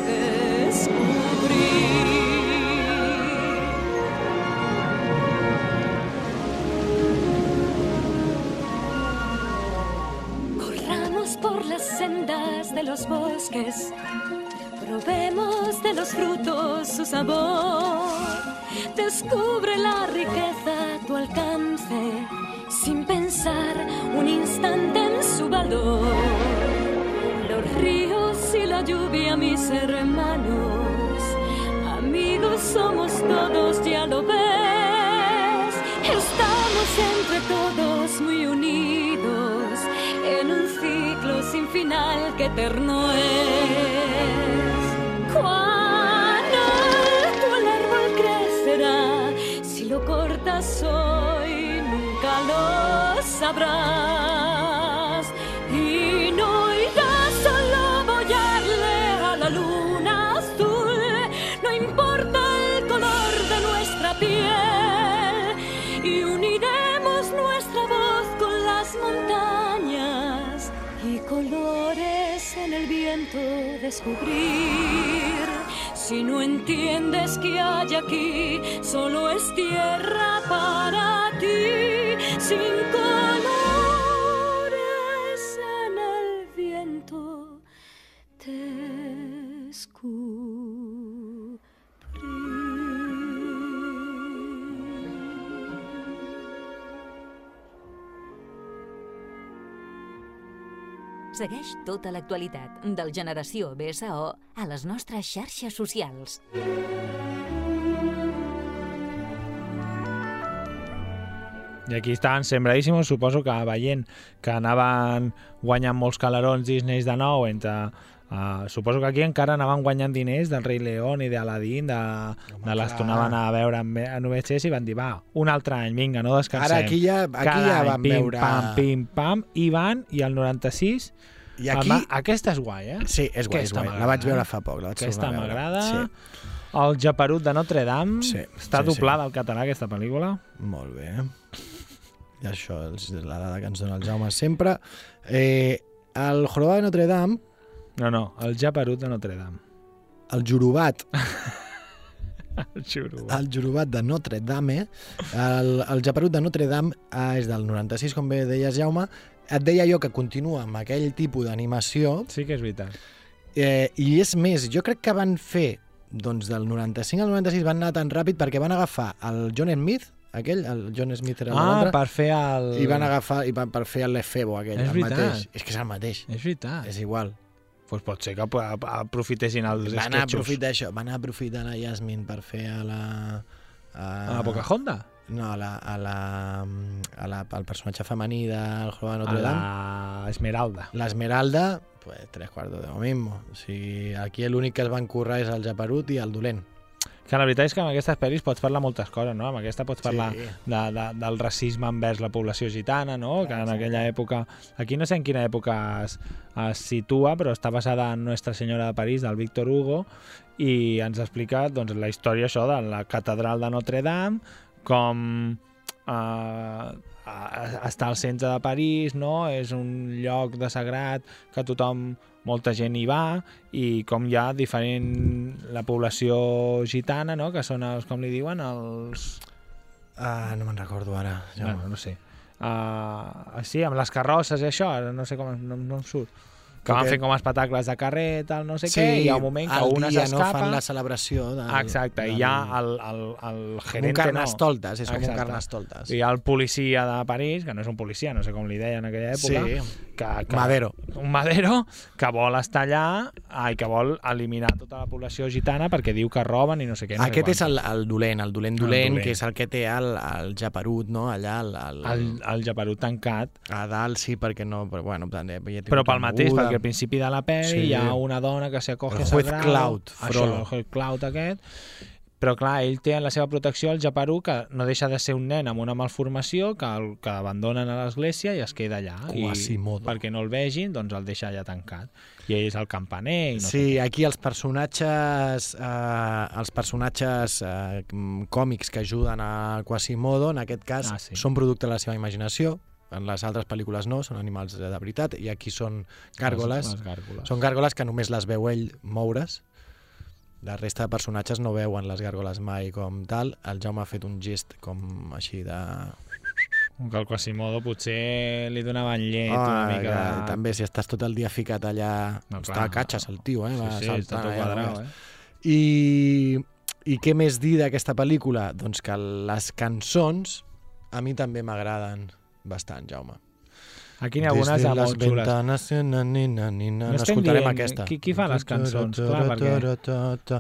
descubrir. por las sendas de los bosques, probemos de los frutos su sabor. Descubre la riqueza a tu alcance, sin pensar un instante en su valor. Los ríos y la lluvia, mis hermanos, amigos somos todos, ya lo ves. Estamos entre todos muy unidos en un ciclo sin final que eterno es. Cuán alto el árbol crecerá, si lo cortas hoy nunca lo sabrás. Y no irás a laborearle a la luna azul, no importa el color de nuestra piel. Y uniremos nuestra voz con las montañas y colores en el viento descubrir. Si no entiendes que hay aquí, solo es tierra para ti, sin colores en el viento descubrir.
Segueix tota l'actualitat del Generació BSO a les nostres xarxes socials.
I aquí estaven sembradíssims, suposo que veient que anaven guanyant molts calarons Disney de nou entre Uh, suposo que aquí encara anaven guanyant diners del rei León i d'Aladín, de, Home, de les tornaven a veure en, en VHS i van dir, va, un altre any, vinga, no descansem.
Ara aquí ja, aquí
Cada
ja
any,
van
pim,
veure...
Pam, pim, pam, i van, i el 96...
I aquí-
Va, aquesta és guai, eh?
Sí, és guai, és
Aquesta
guai.
m'agrada.
La vaig veure fa poc, la vaig
Aquesta
tornar a veure.
m'agrada.
Sí.
Sí. El Japerut de Notre Dame.
Sí,
Està
sí,
doblada al català, aquesta pel·lícula.
Molt bé. I això és la dada que ens dona el Jaume sempre. Eh, el Jorobà de Notre Dame,
No, no, el Japerut de Notre Dame.
el Jorobat,
El Juro.
el Jorobat de Notre Dame, el, el Japerut de Notre Dame eh, és del 96, com bé deies, Jaume. Et deia jo que continua amb aquell tipus d'animació
Sí que és veritat.
eh, i és més, jo crec que van fer doncs del 95 al 96 van anar tan ràpid perquè van agafar el John Smith, aquell, el John Smith era
Ah,
l'altre,
per fer el...
i van agafar i van per fer el Lefebo aquell,
És
el
veritat.
mateix. És que és el mateix.
És veritat.
És igual.
Pues pot ser que ap- aprofitessin els
Van
sketchos.
aprofitar això, van aprofitar la Yasmin per fer a la... A,
A la Pocahontas?
No, a la, a la, mm, a la, al personatge femení del Juego de
A
Notre Dame.
la Esmeralda.
La Esmeralda, pues tres cuartos de lo mismo. Si aquí l'únic que es van currar és el Japarut i el dolent.
Que la veritat és que amb aquestes pel·lis pots parlar moltes coses, no? Amb aquesta pots parlar
Sí.
de, de, del racisme envers la població gitana, no? Que en aquella època... Aquí no sé en quina època es, es situa, però està basada en Nuestra Senyora de París, del Víctor Hugo, i ens explica doncs, la història això de la catedral de Notre Dame, com eh, a- està al centre de París, no? És un lloc de sagrat que tothom, molta gent hi va i com hi ha diferent la població gitana, no? Que són els, com li diuen, els...
Ah, no me'n recordo ara.
Ja bueno, no sé. Uh, sí, amb les carrosses i això, ara no sé com es- no, no em surt. Que van
Perquè-
fent com espectacles de carrer, tal, no sé què, i hi ha un moment que
al
una
dia, no,
s'escapa...
fan la celebració del,
Ah, Exacte,
Ah,
i hi ha el, el, el gerente...
carnestoltes,
no.
és com un
Exacte.
carnestoltes.
I hi ha el policia de París, que no és un policia, no sé com li deia en aquella època,
Sí.
que, que,
Madero.
Un Madero que vol estar allà ai, que vol eliminar tota la població gitana perquè diu que roben i no sé què. No sé
Aquest
quant.
és el, el dolent, el dolent dolent,
dolent.
que és el que té el, el japerut, no? Allà el... El,
El, el japerut tancat.
A dalt sí, perquè no... Però, bueno, també, ja té
Però
una
pel mateix,
cabuda.
perquè al principi de la pel·li
Sí.
hi ha una dona que s'acoge
El
a
juez
Sagrado,
Cloud,
això,
Frollo.
el juez Cloud aquest, però clar, ell té en la seva protecció el japarú que no deixa de ser un nen amb una malformació que, el, que abandonen a l'església i es queda allà.
Quasimodo.
I, perquè no el vegin, doncs el deixa allà tancat. I ell és el campaner i no sé
Sí, aquí els personatges eh, els personatges eh, mm, còmics que ajuden a Quasimodo, en aquest cas,
Ah,
ah,
sí.
sí. són producte de la seva imaginació. En les altres pel·lícules no, són animals de de veritat, i aquí són gàrgoles.
Les- les gàrgoles.
Són gàrgoles que només les veu ell moure's. La resta de personatges no veuen les gàrgoles mai com tal. El Jaume ha fet un gest com així de...
Com que el Quasimodo potser li donaven llet una mica
"Ah, que
de...
També, si estàs tot el dia ficat allà... No, està
clar.
a catxes el tio, eh? Va
Sí, sí, està
saltant
tot
allà,
quadrat,
no?
eh?
I, I què més dir d'aquesta pel·lícula? Doncs que les cançons a mi també m'agraden bastant, Jaume.
Aquí n'hi ha algunes de
Des de les
molt xules.
ventanes, nina, nina, nina,
No estem
n'escoltarem
dient
aquesta.
qui- qui fa les cançons, clar, perquè-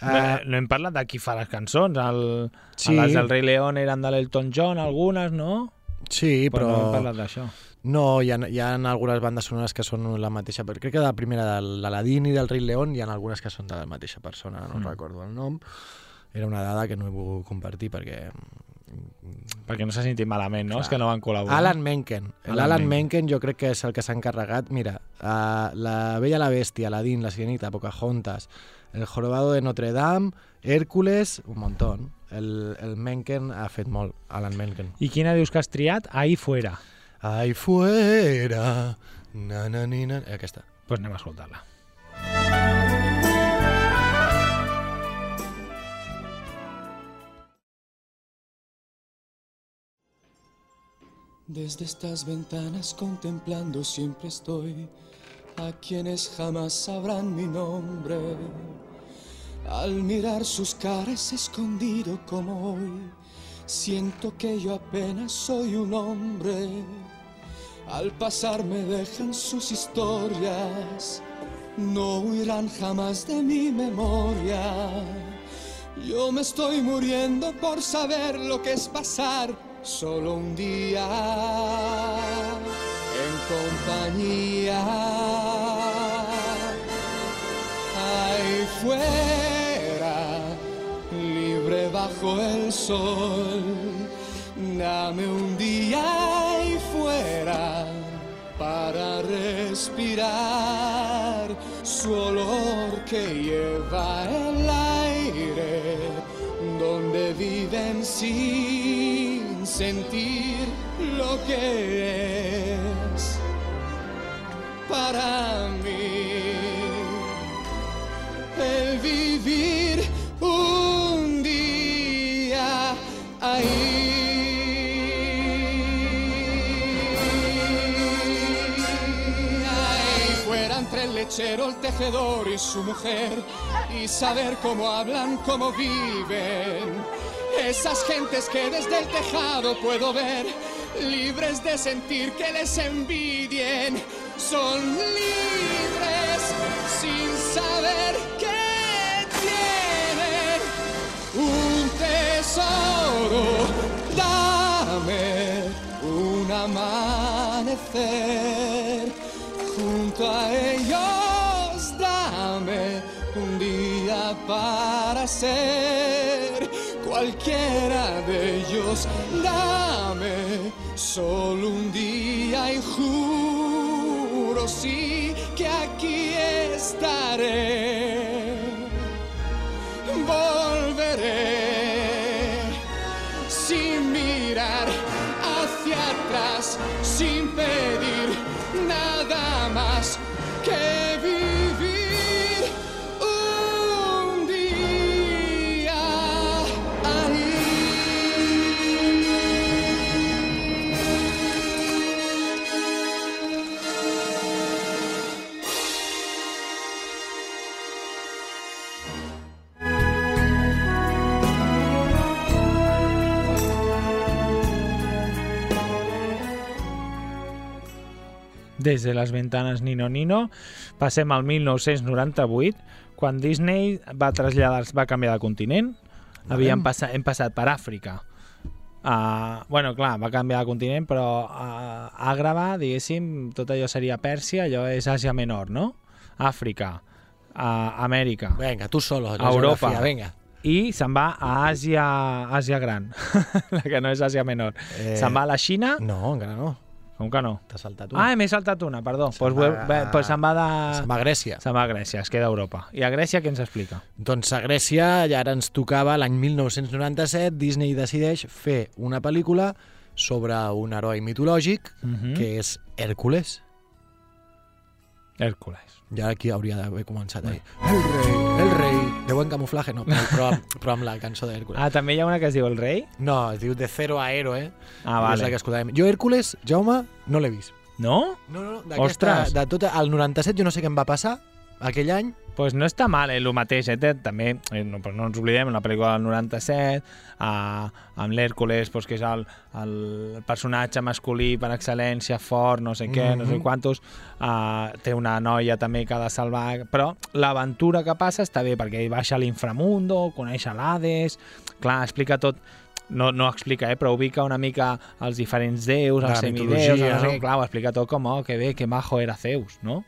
Ah.
No, no hem parlat de qui fa les cançons. El,
Sí.
Les del Rei León eren de l'Elton John, algunes, no?
Sí, però...
no hem parlat d'això.
No, hi ha, hi ha algunes bandes sonores que són la mateixa, però crec que de la primera de l'Aladín i del Rei León hi ha algunes que són de la mateixa persona, no
Mm.
mm. recordo el nom. Era una dada que no he volgut compartir perquè...
Perquè no s'ha sentit malament, no? És que no van col·laborar.
Alan Menken.
Alan
L'Alan
Menken.
Menken jo crec que és el que s'ha encarregat. Mira, a La Bella i la Bèstia, Aladín, La Sirenita, Pocahontas, El Jorobado de Notre Dame, Hércules, un montón. El, el Menken ha fet molt, Alan Menken.
I quina dius que has triat? Ahí fuera.
Ahí fuera. Na, na, ni, na. Eh, Aquesta.
Pues anem a escoltar-la.
Desde estas ventanas contemplando siempre estoy a quienes jamás sabrán mi nombre. Al mirar sus caras escondido como hoy, siento que yo apenas soy un hombre. Al pasar me dejan sus historias, no huirán jamás de mi memoria. Yo me estoy muriendo por saber lo que es pasar solo un día en compañía. Ahí fuera, libre bajo el sol, dame un día ahí fuera para respirar su olor que lleva el aire, donde viven sin sentir lo que es para mí el vivir un día ahí. Ahí fuera entre el lechero, el tejedor y su mujer, y saber cómo hablan, cómo viven. Esas gentes que desde el tejado puedo ver, libres de sentir que les envidien, son libres sin saber que tienen un tesoro. Dame un amanecer junto a ellos, dame un día para ser cualquiera de ellos, dame solo un día y juro sí que aquí estaré, volveré sin mirar hacia atrás, sin pedir nada más que vivir un día ahí.
Des de les ventanes Nino Nino passem al 1998, quan Disney va traslladar va canviar de continent. Havíem passat, hem passat per Àfrica. Uh, bueno, clar, va canviar de continent, però uh, Àgrava, diguéssim, tot allò seria Pèrsia, allò és Àsia Menor, no? Àfrica, uh, Amèrica.
Venga, tu solo, la
Europa.
geografia, venga.
I se'n va a Àsia, Àsia Gran, la que no és Àsia Menor.
Eh,
Se'n va a la Xina.
No, encara no.
Com que no?
T'has saltat una.
Ah, m'he saltat una, perdó. Doncs pues,
va-
va... pues se'n va de...
Se'n va a Grècia.
Se'n va a Grècia, es queda a Europa. I a Grècia què ens explica?
Doncs a Grècia ja ara ens tocava l'any 1997, Disney decideix fer una pel·lícula sobre un heroi mitològic
Mhm.
que és Hèrcules.
Hèrcules.
Ja aquí hauria d'haver començat ahir. El rei, el rei. Deu en camuflatge, no, però, però, amb- però amb la cançó d'Hèrcules.
Ah, també hi ha una que es diu El rei?
No, es diu De Cero a Héroe. eh?
Ah,
És la
vale.
que escoltàvem. Jo Hèrcules, Jaume, no l'he vist.
No?
No, no, no, d'aquesta...
Ostres,
De tot el 97 jo no sé què em va passar aquell any.
pues no està mal, eh, el mateix, eh, té- també, eh, no, però no ens oblidem, la pel·lícula del 97, a, amb l'Hèrcules, pues, que és el, el personatge masculí per excel·lència, fort, no sé què, no sé
Mhm.
quantos, a, té una noia també que ha de salvar, però l'aventura que passa està bé, perquè baixa a l'inframundo, coneix a l'Hades, clar, explica tot, no, no explica, eh, però ubica una mica els diferents déus, els
La
semideus,
mitologia,
no sé
no?
què, clar, ho explica tot com, oh, que bé, que majo era Zeus, no?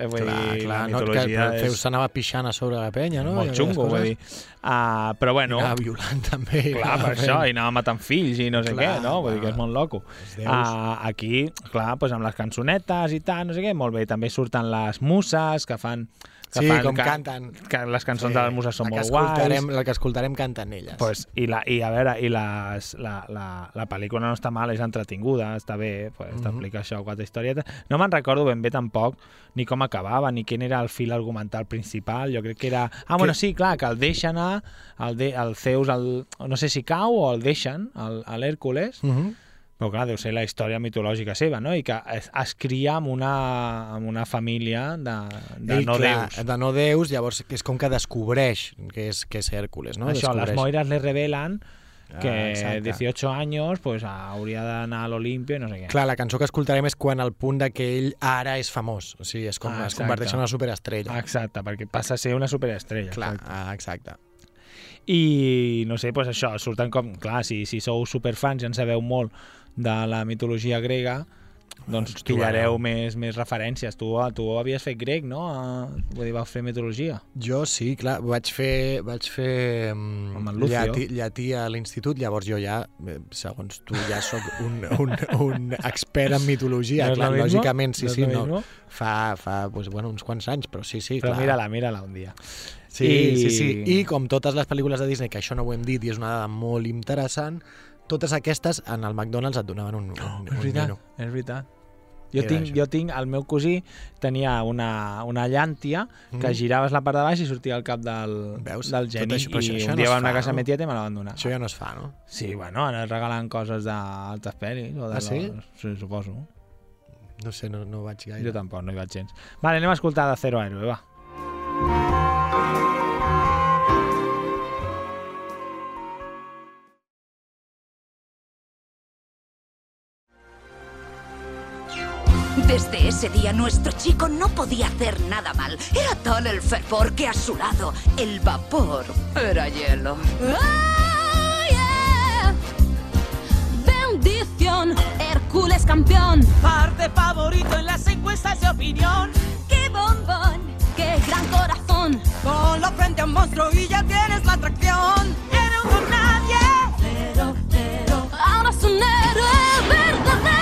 Eh, vull
clar,
dir,
clar,
la
no, que
mitologia
Zeus s'anava pixant a sobre la penya, no?
Molt
I aquelles
xungo,
coses.
vull dir. Ah, però bueno...
I anava violant també. i
Clar,
anava
per això,
fent-
i anava matant fills i no sé
Clar,
què, no? Vull dir
clar.
que és molt loco.
déus.
Ah, aquí, clar, doncs amb les cançonetes i tal, no sé què, molt bé. També surten les muses que fan... Que
Sí,
fan,
com
que,
canten.
Que les cançons de les muses són
la que
molt guais.
escoltarem- La que escoltarem canten elles.
Pues, i, la, I a veure, i les, la, la, la pel·lícula no està mal, és entretinguda, està bé, pues, mm
Mhm.
-hmm. t'explica això, quatre historietes. No me'n recordo ben bé tampoc ni com acabava, ni quin era el fil argumental principal, jo crec que era... Ah, bueno, sí, clar, que el deixen a... El, de, el Zeus, el, no sé si cau o el deixen, el- a l'Hèrcules,
Mhm.
però clar, deu ser la història mitològica seva, no? I que es, es cria amb una, amb una família de, de
Ell,
no
clar,
déus.
De no déus, llavors que és com que descobreix que és, que és Hèrcules, no?
Això, les
Descobreix.
moiras le revelan
Ah,
que
exacte.
18 anys pues, hauria d'anar a l'Olimpia i no sé què.
Clar, la cançó que escoltarem és quan al punt de que ell ara és famós. O sigui, és com
Ah,
es
exacte.
converteix en una superestrella.
Exacte, perquè passa a ser una superestrella.
Clar, ah, exacte.
I no sé, pues això, surten com... Clar, si, si sou superfans i en sabeu molt de la mitologia grega, doncs
Us
pillareu
trobareu.
més, més referències. Tu, tu havies fet grec, no? A, vull dir, vas fer mitologia.
Jo sí, clar, vaig fer, vaig fer mm,
Amb en Lucio.
llatí, llatí a l'institut, llavors jo ja, eh, segons tu, ja sóc un, un, un expert en mitologia,
No és
clar,
lo mismo?
lògicament, sí,
No és
sí,
lo
no.
mismo?
Fa, fa pues, bueno, uns quants anys, però sí, sí,
Però
clar.
mira-la, mira-la un dia.
Sí, I... sí, sí. I com totes les pel·lícules de Disney, que això no ho hem dit i és una dada molt interessant, totes aquestes en el McDonald's et donaven un, un,
Oh, És
un
veritat,
nino.
és veritat. Jo
Era
tinc,
això.
jo tinc, el meu cosí tenia una, una llàntia que
Mm.
giraves la part de baix i sortia el cap del,
Veus?
del
Tot
geni
això- però això-
i
això
un
no
dia
es
va a una
fa,
casa de
no?
meva tia i me la van donar.
Això ja no es fa, no?
Sí, bueno, ara es regalen coses d'altres pel·lis o de
Ah, sí?
los- sí? suposo.
No sé, no, no vaig gaire.
Jo tampoc, no hi vaig gens. Vale, anem a escoltar de Zero Aero, va.
Desde ese día nuestro chico no podía hacer nada mal. Era tal el fervor que a su lado el vapor era hielo.
¡Oh, yeah! ¡Bendición! ¡Hércules campeón!
Parte favorito en las encuestas de opinión.
¡Qué bombón! ¡Qué gran corazón!
Ponlo frente a un monstruo y ya tienes la atracción. Era un don nadie.
Pero, pero, ahora es un héroe verdadero. Uh,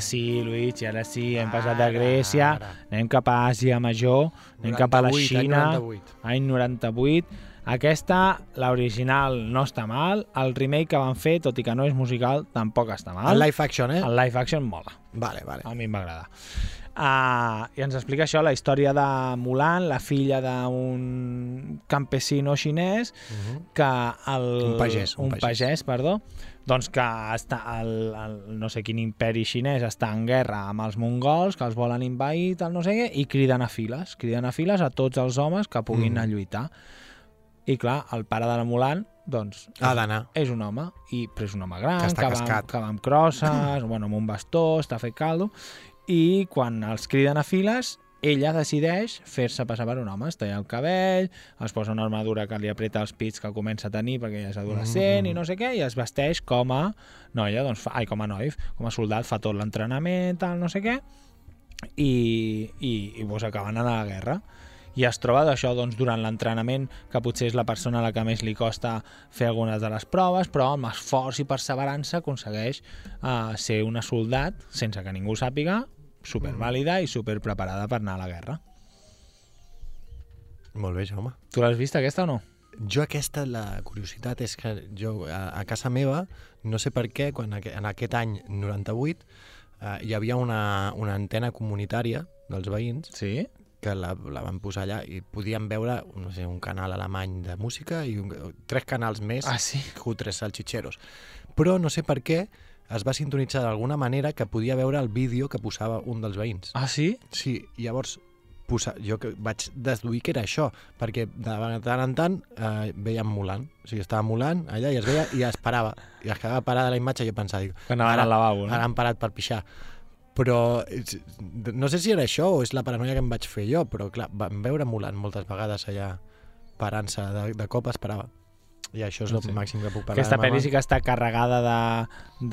sí, Luis, i ara sí, hem passat de Grècia, ara, ara. anem cap a Àsia Major, anem 98, cap a la Xina, any 98. any 98. Aquesta, l'original, no està mal. El remake que van fer, tot i que no és musical, tampoc està mal.
El live action, eh?
El live action mola.
Vale, vale.
A mi em va agradar. Uh, I ens explica això, la història de Mulan, la filla d'un campesino xinès, uh -huh. que el...
Mhm. Un pagès.
Un, un pagès. pagès, perdó. Doncs que està el, el, no sé quin imperi xinès està en guerra amb els mongols, que els volen invair, tal no sé què, i criden a files, criden a files a tots els homes que puguin
Mhm.
uh -huh. anar a lluitar. I clar, el pare de la Mulan doncs
ha d'anar.
És un home, i, però és un home gran,
que, està
que, va,
cascat.
que va amb crosses, bueno, amb un bastó, està fet caldo, i quan els criden a files, ella decideix fer-se passar per un home, es talla el cabell, es posa una armadura que li apreta els pits que comença a tenir perquè ja és adolescent mm -hmm. i no sé què, i es vesteix com a noia, doncs, fa, ai, com a noi, com a soldat, fa tot l'entrenament, tal, no sé què, i, i, i vos acaben a la guerra i es troba d'això doncs, durant l'entrenament, que potser és la persona a la que més li costa fer algunes de les proves, però amb esforç i perseverança aconsegueix eh, ser una soldat, sense que ningú sàpiga, supervàlida i superpreparada per anar a la guerra.
Molt bé, Jaume.
Tu l'has vist aquesta o no?
Jo aquesta, la curiositat és que jo a, a casa meva, no sé per què, quan en aquest any 98, eh, hi havia una, una antena comunitària dels veïns
sí?
que la, la van posar allà i podíem veure no sé, un canal alemany de música i un, tres canals més
ah, sí?
cutres salchicheros. Però no sé per què es va sintonitzar d'alguna manera que podia veure el vídeo que posava un dels veïns.
Ah, sí?
Sí, llavors posar, jo que vaig deduir que era això, perquè de tant en tant eh, veiem Mulan, o sigui, estava Mulan allà i es veia i es parava, i es quedava parada la imatge i jo pensava, dic,
que anaven
ara,
al lavabo, no?
ara han parat per pixar però no sé si era això o és la paranoia que em vaig fer jo, però clar, vam veure Mulan moltes vegades allà parant-se, de, de cop es parava. I això és el màxim que puc parlar.
Aquesta
de Mama.
pel·li sí que està carregada de,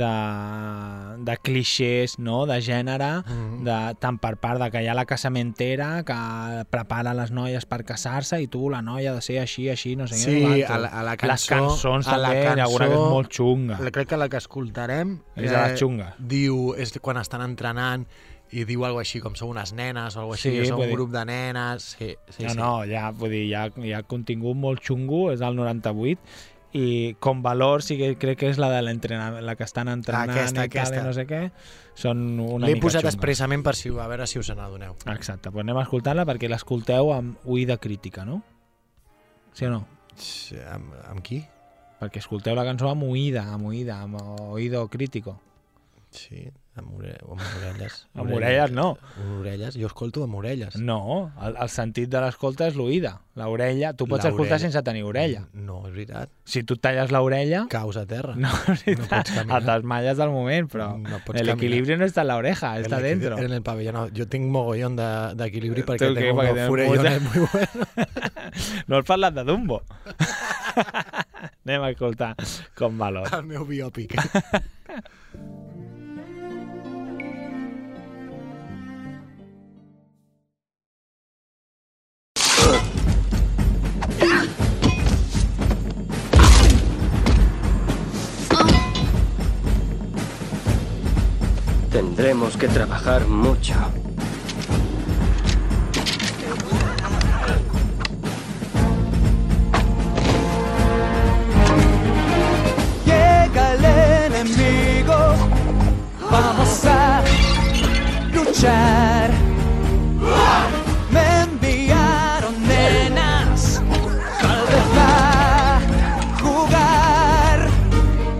de, de clixés, no?, de gènere,
Mhm.
de, tant per part de que hi ha la casamentera que prepara les noies per casar-se i tu, la noia, ha de ser així, així, no sé què.
Sí,
no sé
a la,
quantos.
a la cançó...
Les cançons
a la
també, hi ha alguna que és molt xunga.
La, crec que la que escoltarem...
És de les xungues.
Diu, és quan estan entrenant i diu alguna així com són unes nenes o alguna així,
Sí,
sí, són
vull
un
dir-
grup de nenes... Sí, sí,
no,
sí.
no, ja, vull dir, ja, ja contingut molt xungo, és del 98, i com valor sí que crec que és la de l'entrenament, la que estan entrenant
Aquesta,
i tal,
aquesta.
i no sé què, són una
L'he
mica
posat
xungues.
expressament per si, a veure si us n'adoneu.
Exacte, doncs anem a escoltar-la perquè l'escolteu amb oïda crítica, no? Sí o no?
Amb, amb qui?
Perquè escolteu la cançó amb oïda, amb oïda, amb oïdo crítico.
Sí, amb, ore amb orelles.
Amb orelles no.
Amb orelles, jo escolto amb orelles.
No, el, el sentit de l'escolta és l'oïda, l'orella. Mm. Tu pots
La
escoltar
orella.
sense tenir orella.
No, és veritat.
Si tu et talles l'orella...
Caus a terra.
No, és veritat, no et desmalles del moment, però no
pots
l'equilibri no està en l'oreja, està
En el-
dentro.
En el pabellón. Yo tengo mogollón de, de equilibrio porque
¿Tú qué?
tengo
Porque
unos
tienes
furellones
mucha-
muy buenos.
No has parlat de Dumbo. Anem a escoltar com valor.
El meu biòpic.
Tendremos que trabajar mucho.
Llega el enemigo, vamos a luchar. Me enviaron nenas, tal vez a jugar.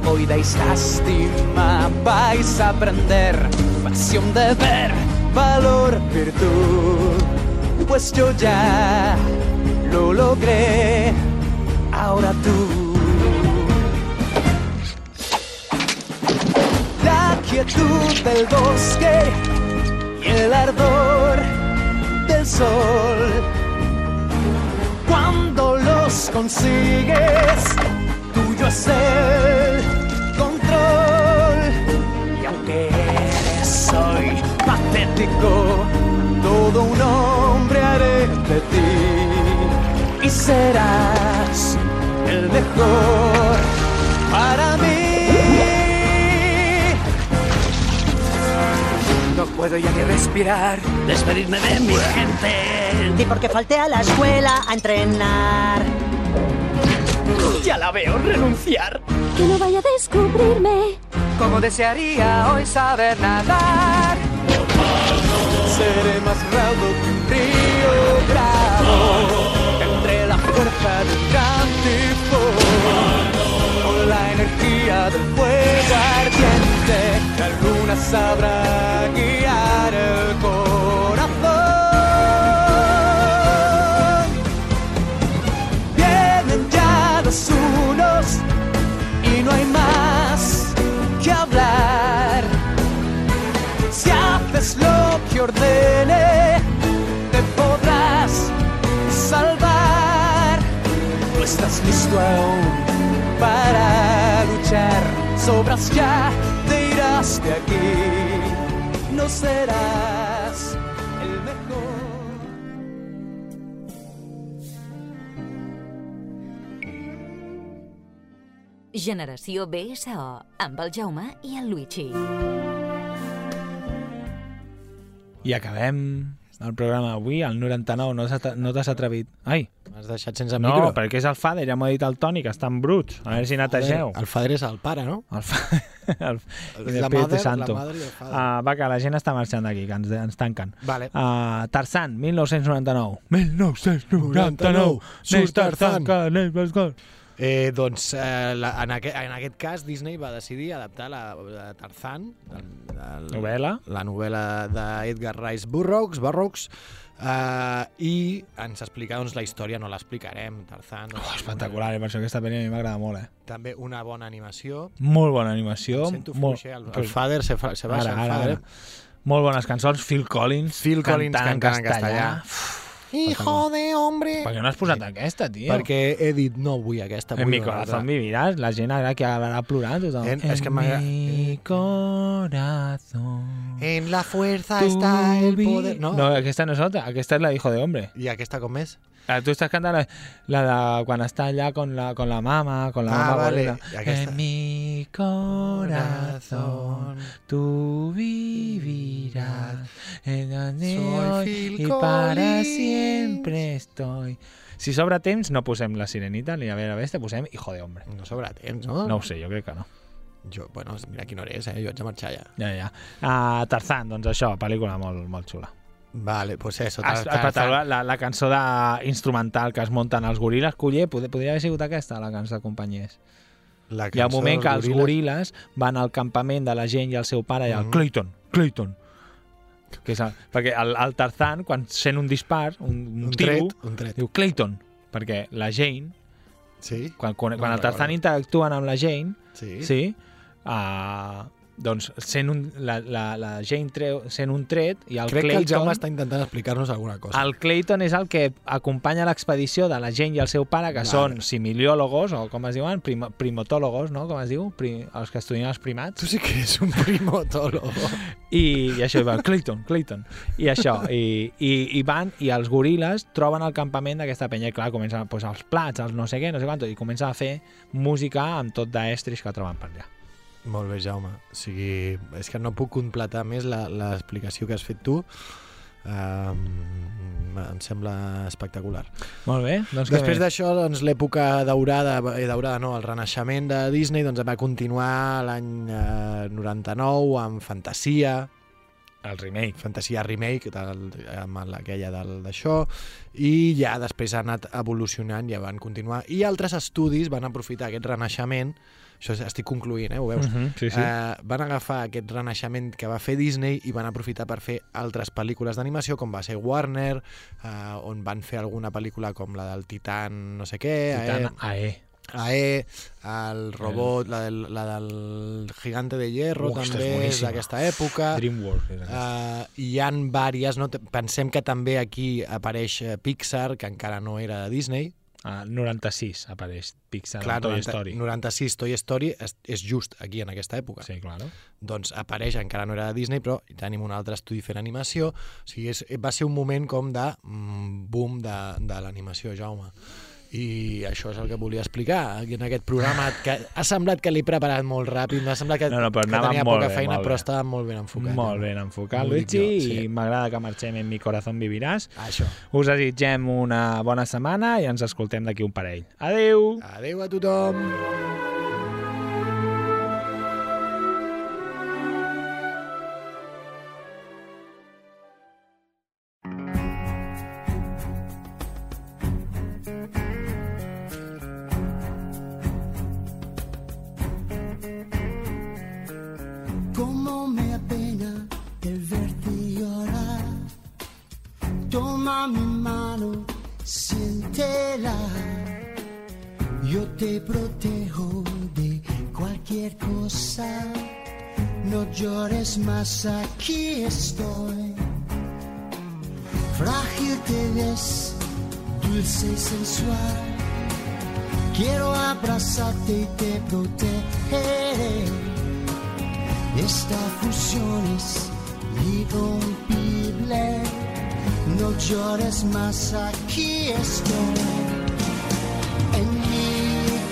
Hoy dais lástima, vais a aprender pasión, deber, valor, virtud. Pues yo ya lo logré, ahora tú. la quietud del bosque y el ardor del sol. Cuando los consigues, tuyo es el control. Y aunque eres hoy patético, todo un hombre haré de ti y serás el mejor para mí. No puedo ya ni respirar, despedirme de mi gente.
Y porque falté a la escuela a entrenar.
Ya la veo renunciar.
Que no vaya a descubrirme.
Como desearía hoy saber nadar. Seré más raudo que un río bravo. Tendré la fuerza de un gran tifón. Con la energía del fuego ardiente, la luna sabrá guiar el corazón. Vienen ya los unos y no hay más que hablar. Si haces lo que ordene, te podrás salvar. No estás listo aún para luchar. Sobras ya, te irás de aquí. No serás el mejor.
Generació BSO, amb el Jaume i el Luigi.
I acabem el programa d'avui, el 99, no, s'ha- no t'has atrevit. Ai,
M'has deixat sense
no,
micro.
perquè és el Fader, ja m'ho ha dit el Toni, que estan bruts. A veure si netegeu.
El Fader és el pare, no?
El fa... el... I
La
després
mother,
de
la
Santo.
mother i el father.
Ah, va, que la gent està marxant d'aquí, que ens, ens tanquen.
Vale.
Ah, Tarzan, 1999. 1999, neix Tarzan, que neix Tarzan.
Eh, doncs eh, la, en, aquest, en aquest cas Disney va decidir adaptar la, la Tarzan, la, la,
Novel·la.
la novel·la d'Edgar Rice Burroughs, Burroughs eh, i ens explica doncs, la història, no l'explicarem, Tarzan. Doncs,
Espectacular, eh? per això aquesta pel·li a mi m'agrada molt, eh?
També una bona animació.
Molt bona animació.
Em sento
molt...
fluix, eh? El- el Father se fa- se baixa,
Ara,
el
ara,
Father.
ara. Molt bones cançons. Phil Collins,
Phil Collins
cantant en
cantant en
castellà.
castellà.
Uf,
Hijo de hombre.
Per què no has posat aquesta, tio?
Perquè he dit, no vull aquesta.
En
vull
mi
una
corazón
altra.
vivirás, la gent ara que acabarà plorant tothom.
En- és que m'agrada-
mi corazón.
En la fuerza
tu
está el
vi-
poder... No,
no, eh. aquesta no és otra, aquesta és la de Hijo de Hombre.
I aquesta com és?
Ah, tu estàs cantant la, la de quan està allà con la, con la mama, con la
Ah,
mama
vale,
gorila.
i aquesta.
En mi corazón tú vivirás en donde
Soy
hoy
Phil
y para
Collins.
siempre estoy. Si sobra temps, no posem la sirenita ni a veure, a veure, posem Hijo de Hombre.
No sobra temps, no?
No ho sé, jo crec que no.
Jo, bueno, mira quina hora és, eh? Jo haig de marxar ja.
Ja, ja. Uh, Tarzán, doncs això, pel·lícula molt, molt xula.
Vale, pues eso.
Has- has pensat, la, la cançó de instrumental que es munten els goril·les, culler, pod- podria haver sigut aquesta la que ens acompanyés.
La
Hi ha
cançó
un moment
dels
que els goril·les
goril·les.
van al campament de la gent i el seu pare i el
Mhm.
Clayton, Clayton. Que és el, perquè el, el Tarzan, quan sent un dispar, un, un,
Un
tiro,
tret, un tret.
diu Clayton, perquè la Jane,
sí?
quan, quan,
No
quan
me'n
el Tarzan
recordo.
interactuen amb la Jane,
Sí.
sí uh, doncs sent un, la, la, la Jane treu, sent un tret i el
Crec que
Clayton...
el Jaume està intentant explicar-nos alguna cosa.
El Clayton és el que acompanya l'expedició de la gent i el seu pare, que
Vale.
són similiólogos, o com es diuen, Prim primotòlogos, no? Com es diu? Pri els que estudien els primats.
Tu sí que és un primotólogo.
I, i això, i van, Clayton, Clayton. I això, i, i, i van, i els goril·les troben el campament d'aquesta penya, i clar, comencen pues, els plats, els no sé què, no sé quant, i comencen a fer música amb tot d'estris que troben per allà.
Molt bé, Jaume. O sigui, és que no puc completar més la- l'explicació que has fet tu. Um, em sembla espectacular.
Molt bé, doncs què més?
Després d'això, doncs, l'època daurada, eh, daurada no, el renaixement de Disney doncs, va continuar l'any eh, 99 amb Fantasia,
el remake.
Fantasia Remake, del, amb la- aquella del- d'això, i ja després ha anat evolucionant, ja van continuar. I altres estudis van aprofitar aquest renaixement, això és- estic concluint, eh, ho veus?
Mhm, sí, sí.
Eh, van agafar aquest renaixement que va fer Disney i van aprofitar per fer altres pel·lícules d'animació, com va ser Warner, eh, on van fer alguna pel·lícula com la del Titan no sé què,
Titan
eh,
AE.
AE, el robot, la del, la del gigante de hierro,
Ua, aquesta és
també és
boníssima.
d'aquesta època.
DreamWorks és aquesta.
Uh, hi han vàries, no? T- pensem que també aquí apareix eh, Pixar, que encara no era de Disney.
Ah, 96 apareix Pixar
Clar,
amb Toy
90
Story.
96 Toy Story és, és just aquí, en aquesta època.
Sí, claro.
Doncs apareix, encara no era de Disney, però tenim un altre estudi fent animació. O sigui, és, va ser un moment com de mm, boom de, de l'animació, Jaume. I això és el que volia explicar aquí en aquest programa, que ha semblat que l'he preparat molt ràpid, m'ha semblat que,
No, no, però
que
anava
tenia
molt
poca
bé,
feina,
molt
però
bé.
estava molt ben enfocat.
Molt
Jaume.
ben enfocat,
Ho dic
Luigi,
jo, sí.
i m'agrada que marxem en mi corazón viviràs.
Això.
Us desitgem una bona setmana i ens escoltem d'aquí un parell. Adeu!
Adeu a tothom!
Cómo me apena el verte llorar. Toma mi mano, siéntela. Yo te protejo de cualquier cosa. No llores más, aquí estoy. Frágil te ves, dulce y sensual. Quiero abrazarte y te protegeré. Esta fusión es irrompible. No llores más, aquí estoy. En mi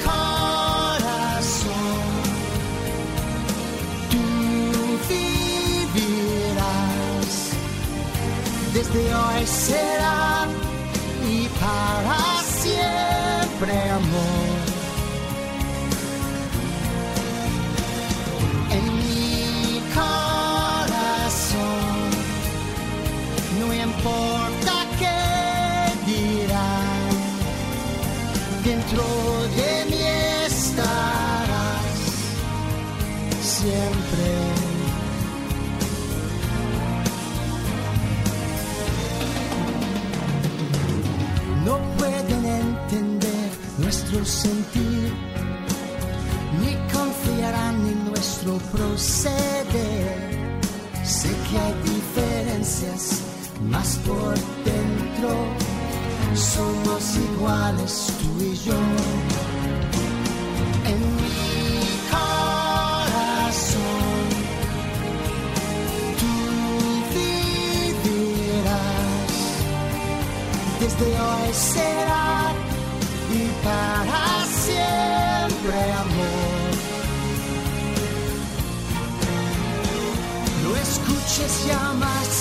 corazón tú vivirás. Desde hoy será y para siempre amor. en mi corazón. No importa qué dirán, dentro de mí estarás siempre. No pueden entender nuestro sentir ni confiarán en nuestro proceder. Sé que hay diferencias más por dentro, somos iguales tú y yo. En mi corazón tú vivirás, desde hoy será y para siempre amor. No escuches ya más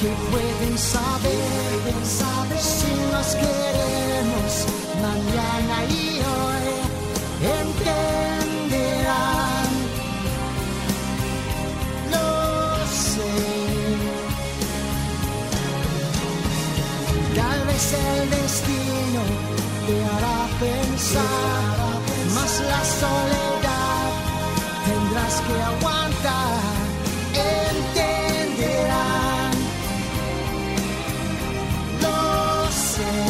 que pueden saber, saber si nos queremos mañana y hoy entenderán. No sé, tal vez el destino te hará pensar, más la soledad tendrás que aguantar. Entenderán. Lo sé,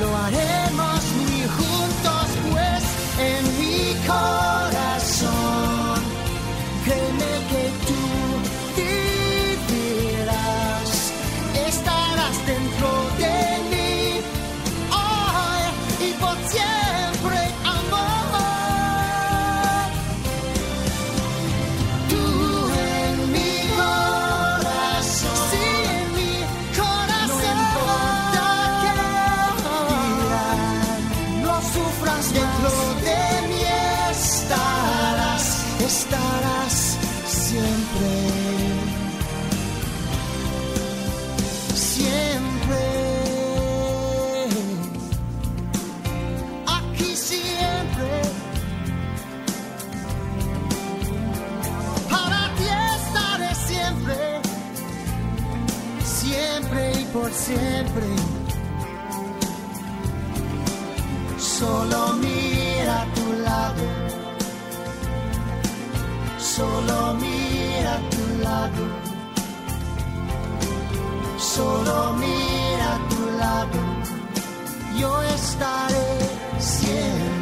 lo haremos muy juntos, pues en mi corazón, créeme que tú vivirás, estarás dentro de mí hoy y por siempre, amor. Tú en mi corazón, sí en mi corazón, no importa que dirán, no sufras dentro de mí estarás, estarás siempre, siempre aquí siempre. Para ti estaré siempre, siempre y por siempre. Solo mira a tu lado, solo mira a tu lado, solo mira a tu lado. Yo estaré siempre.